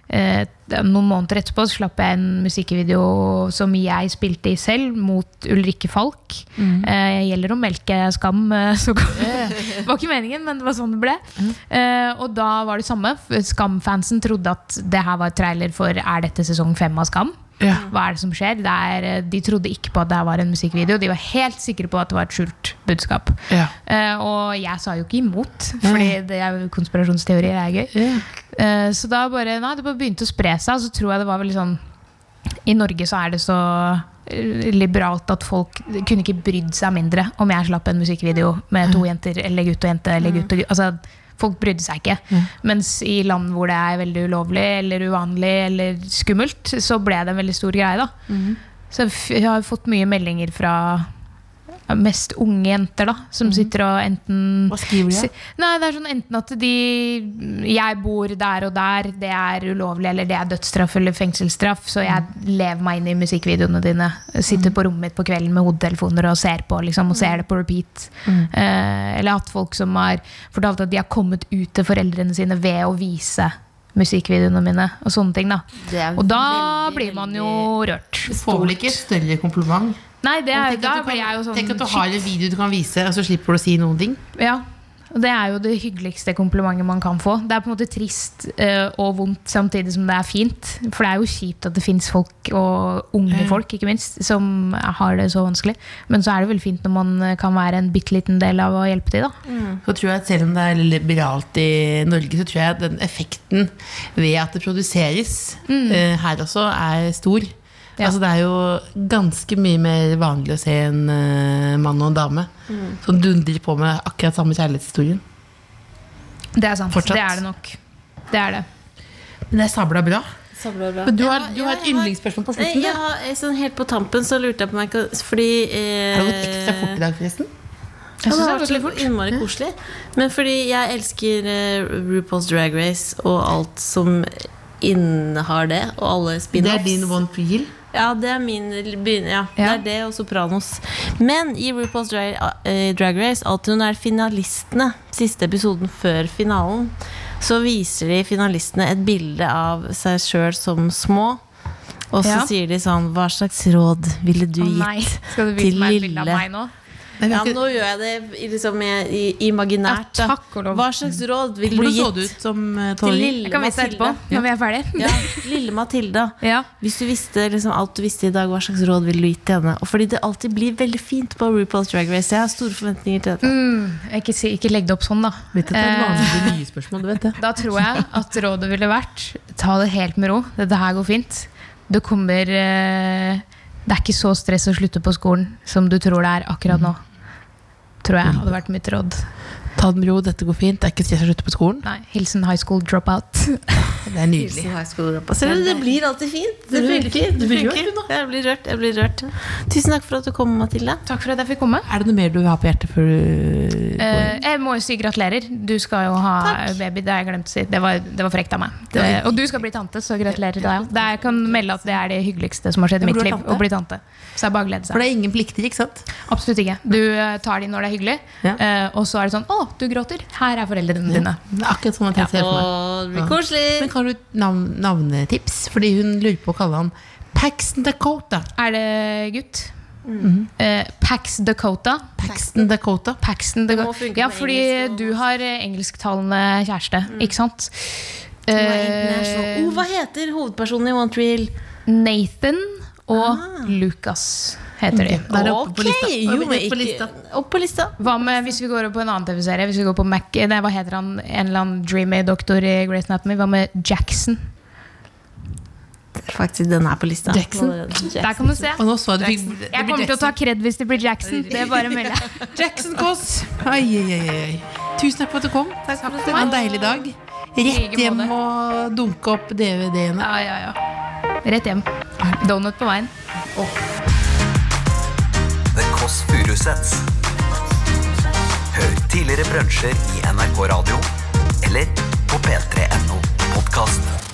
Speaker 4: eh, noen måneder etterpå så slapp jeg en musikkvideo som jeg spilte i selv, mot Ulrikke Falk. Eh, gjelder å melke skam, eh, så det [laughs] var ikke meningen, men det var sånn det ble. Eh, og da var det samme. Skam-fansen trodde at det her var trailer for Er dette sesong fem av Skam?
Speaker 5: Ja.
Speaker 4: Hva er det som skjer? Det er, eh, de trodde ikke på at det her var en musikkvideo. De var helt sikre på at det var et skjult budskap.
Speaker 5: Ja.
Speaker 4: Eh, og jeg sa jo ikke imot, Fordi det er jo konspirasjonsteorier er gøy. Eh, så da bare, nei, det bare begynte å spre seg, og så tror jeg det var veldig sånn I Norge så er det så eh, liberalt at folk kunne ikke brydd seg mindre om jeg slapp en musikkvideo med to jenter eller gutt og jente. eller gutt og gutt. Altså, Folk brydde seg ikke. Mens i land hvor det er veldig ulovlig eller uvanlig eller skummelt, så ble det en veldig stor greie. da.
Speaker 3: Mm.
Speaker 4: Så jeg f- jeg har fått mye meldinger fra ja, mest unge jenter, da, som
Speaker 3: Mhm.
Speaker 4: sitter og enten
Speaker 5: Hva skriver de, da?
Speaker 4: Si- Nei, det er sånn enten at de Jeg bor der og der, det er ulovlig, eller det er dødsstraff eller fengselsstraff, så jeg
Speaker 3: Mhm.
Speaker 4: lever meg inn i musikkvideoene dine. Sitter på rommet mitt på kvelden med hodetelefoner og ser på, liksom,
Speaker 3: Mhm.
Speaker 4: og ser det på repeat. Eh, eller hatt folk som har fortalt at de har kommet ut til foreldrene sine ved å vise musikkvideoene mine, og sånne ting, da.
Speaker 3: Det er
Speaker 4: Og da
Speaker 3: veldig,
Speaker 4: blir man jo rørt.
Speaker 5: Får vel ikke et større kompliment?
Speaker 4: Nei, det er,
Speaker 5: Tenk at
Speaker 4: da
Speaker 5: du kan-
Speaker 4: blir jeg jo sånn
Speaker 5: Tenk at du har en video du kan vise, og så slipper du å si noen ting.
Speaker 4: Ja, og det er jo det hyggeligste komplimentet man kan få. Det er på en måte trist eh, og vondt samtidig som det er fint. For det er jo kjipt at det fins folk, og unge folk ikke minst, som har det så vanskelig. Men så er det vel fint når man eh, kan være en bitte liten del av å hjelpe til, da.
Speaker 5: Så tror jeg at Selv om det er liberalt i Norge, så tror jeg at den effekten ved at det produseres eh, her også, er stor.
Speaker 4: Ja.
Speaker 5: Altså Det er jo ganske mye mer vanlig å se en eh, mann og en dame som dundrer på med akkurat samme kjærlighetshistorien.
Speaker 4: Det er sant.
Speaker 5: Fortsatt.
Speaker 4: Det er det nok. Det er det.
Speaker 5: Men det er sabla bra.
Speaker 3: Sabla bra.
Speaker 5: Men du har, du
Speaker 3: Ja,
Speaker 5: har et
Speaker 3: jeg har-
Speaker 5: yndlingsspørsmål på
Speaker 3: Nei,
Speaker 5: slutten.
Speaker 3: jeg
Speaker 5: du.
Speaker 3: har- eh, sånn helt på tampen så lurte jeg på meg ikke- Fordi eh,
Speaker 5: Har det gått ekstra fort i dag, forresten?
Speaker 4: Jeg
Speaker 3: Ja,
Speaker 4: synes det
Speaker 3: det
Speaker 4: er
Speaker 3: har vært
Speaker 4: veldig fort.
Speaker 3: så innmari koselig. Men fordi jeg elsker eh, RuPaul's Drag Race og alt som innehar det, og alle
Speaker 5: Det er din
Speaker 3: spin-offs.
Speaker 5: one peel.
Speaker 3: Ja, det er min begynner, ja. Det
Speaker 4: Ja.
Speaker 3: er det og Sopranos. Men i RuPaul's Drag, eh, Drag Race, alltid når det er finalistene, siste episoden før finalen, så viser de finalistene et bilde av seg sjøl som små. Og så
Speaker 4: Ja.
Speaker 3: sier de sånn Hva slags råd ville du
Speaker 4: Å nei,
Speaker 3: gitt?
Speaker 4: skal du
Speaker 3: til
Speaker 4: vise meg et bilde av
Speaker 3: lille-
Speaker 4: meg nå?
Speaker 5: Nei, vi
Speaker 3: Ja,
Speaker 5: har ikke-
Speaker 3: nå gjør jeg det i- liksom, i- i- imaginært. da.
Speaker 4: Ja, takk og lov.
Speaker 3: Hva slags råd ville du
Speaker 5: Hvordan så det
Speaker 3: gitt
Speaker 5: ut som eh,
Speaker 3: til
Speaker 5: tolvåring?
Speaker 3: lille
Speaker 4: Jeg kan vise deg etterpå,
Speaker 3: Mathilde?
Speaker 4: når vi er ferdige.
Speaker 3: Ja, lille Mathilde.
Speaker 4: Ja.
Speaker 3: Hvis du visste liksom, alt du visste i dag, hva slags råd ville du gitt til henne? Og fordi det alltid blir veldig fint på RuPaul's Drag Race. Jeg har store forventninger til dette.
Speaker 4: Mm. Ikke, si, ikke legg det opp sånn, da.
Speaker 5: Vet du, det er
Speaker 4: Eh,
Speaker 5: vanlige nye spørsmål, du vet det.
Speaker 4: Da tror jeg at rådet ville vært Ta det helt med ro, dette her går fint Det kommer eh, Det er ikke så stress å slutte på skolen Som du tror det er akkurat nå Tror jeg hadde vært mitt råd
Speaker 5: Ta det med ro, dette går fint. Det er ikke stress å slutte på skolen.
Speaker 4: Nei, hilsen high school dropout
Speaker 5: Det er nydelig.
Speaker 3: Ser du, det blir alltid fint. Det funker.
Speaker 5: Du
Speaker 3: Det
Speaker 5: blir
Speaker 3: funker.
Speaker 5: rørt, du nå.
Speaker 3: Jeg blir rørt. Jeg blir rørt. Tusen takk for at du kom, Mathilde.
Speaker 4: Takk for at jeg fikk komme
Speaker 5: Er det noe mer du vil ha på hjertet før du
Speaker 4: Eh, jeg må jo si gratulerer. Du skal jo ha baby. Det har jeg glemt å si. Det var, det var frekt av meg. Det, og du skal bli tante, så gratulerer til deg. Det, jeg kan melde at det er det hyggeligste som har skjedd
Speaker 5: Ja,
Speaker 4: i mitt
Speaker 5: men du er
Speaker 4: liv.
Speaker 5: tante.
Speaker 4: Å bli tante. Så det er bare å glede
Speaker 5: For
Speaker 4: seg.
Speaker 5: det er ingen plikter, ikke sant?
Speaker 4: Absolutt ikke. Du eh, tar de når det er hyggelig,
Speaker 5: Ja.
Speaker 4: eh, og så er det sånn Å, du gråter. Her er foreldrene dine.
Speaker 5: Det er akkurat sånn jeg ser for meg.
Speaker 3: Å, det
Speaker 5: Ja.
Speaker 3: blir koselig.
Speaker 5: Men kan du navn, navnetips? Fordi hun lurer på å kalle han Paxton Dakota.
Speaker 4: Er det gutt?
Speaker 3: Mm.
Speaker 4: Eh, Pax Dakota.
Speaker 5: Paxton Dakota.
Speaker 4: Paxton
Speaker 3: må
Speaker 4: Dakota.
Speaker 3: funke
Speaker 4: Ja,
Speaker 3: på
Speaker 4: fordi
Speaker 3: engelsk Mm. og-
Speaker 4: du har eh, engelsktalende kjæreste, ikke sant? Eh,
Speaker 3: International. Oh, hva heter hovedpersonen i One Tree Hill?
Speaker 4: Nathan og
Speaker 3: Ah.
Speaker 4: Lucas heter de.
Speaker 5: Da er det oppe på
Speaker 3: Ok,
Speaker 5: lista. Da er
Speaker 3: jo,
Speaker 5: vi
Speaker 3: men
Speaker 5: rett på
Speaker 3: ikke-
Speaker 5: lista.
Speaker 3: Opp på lista.
Speaker 4: Hva med hvis vi går over på en annen TV-serie? Hvis vi går på Mac, eh, nei, Hva heter han? En eller annen dreamy doktor i Grey's Anatomy? Hva med Jackson?
Speaker 1: Faktisk, den er på lista.
Speaker 7: Jackson.
Speaker 1: Allerede.
Speaker 4: Der kan du se.
Speaker 5: Og nå så jeg du fikk det
Speaker 4: Jeg
Speaker 5: blir
Speaker 4: kommer til å ta kred hvis det blir Jackson. Det er bare å melde.
Speaker 5: Jackson Kåss. Ai, ai, ai, ai. Tusen takk for at du kom. Takk for at det var en deilig dag. Rett
Speaker 4: like
Speaker 5: hjem
Speaker 4: måte.
Speaker 5: og dunke opp DVD-ene.
Speaker 4: Ja, ja, ja. Ah. Rett hjem. Donut på veien.
Speaker 2: The Kåss Furuseths. Hør tidligere brunsjer i NRK Radio eller på p3.no podkast.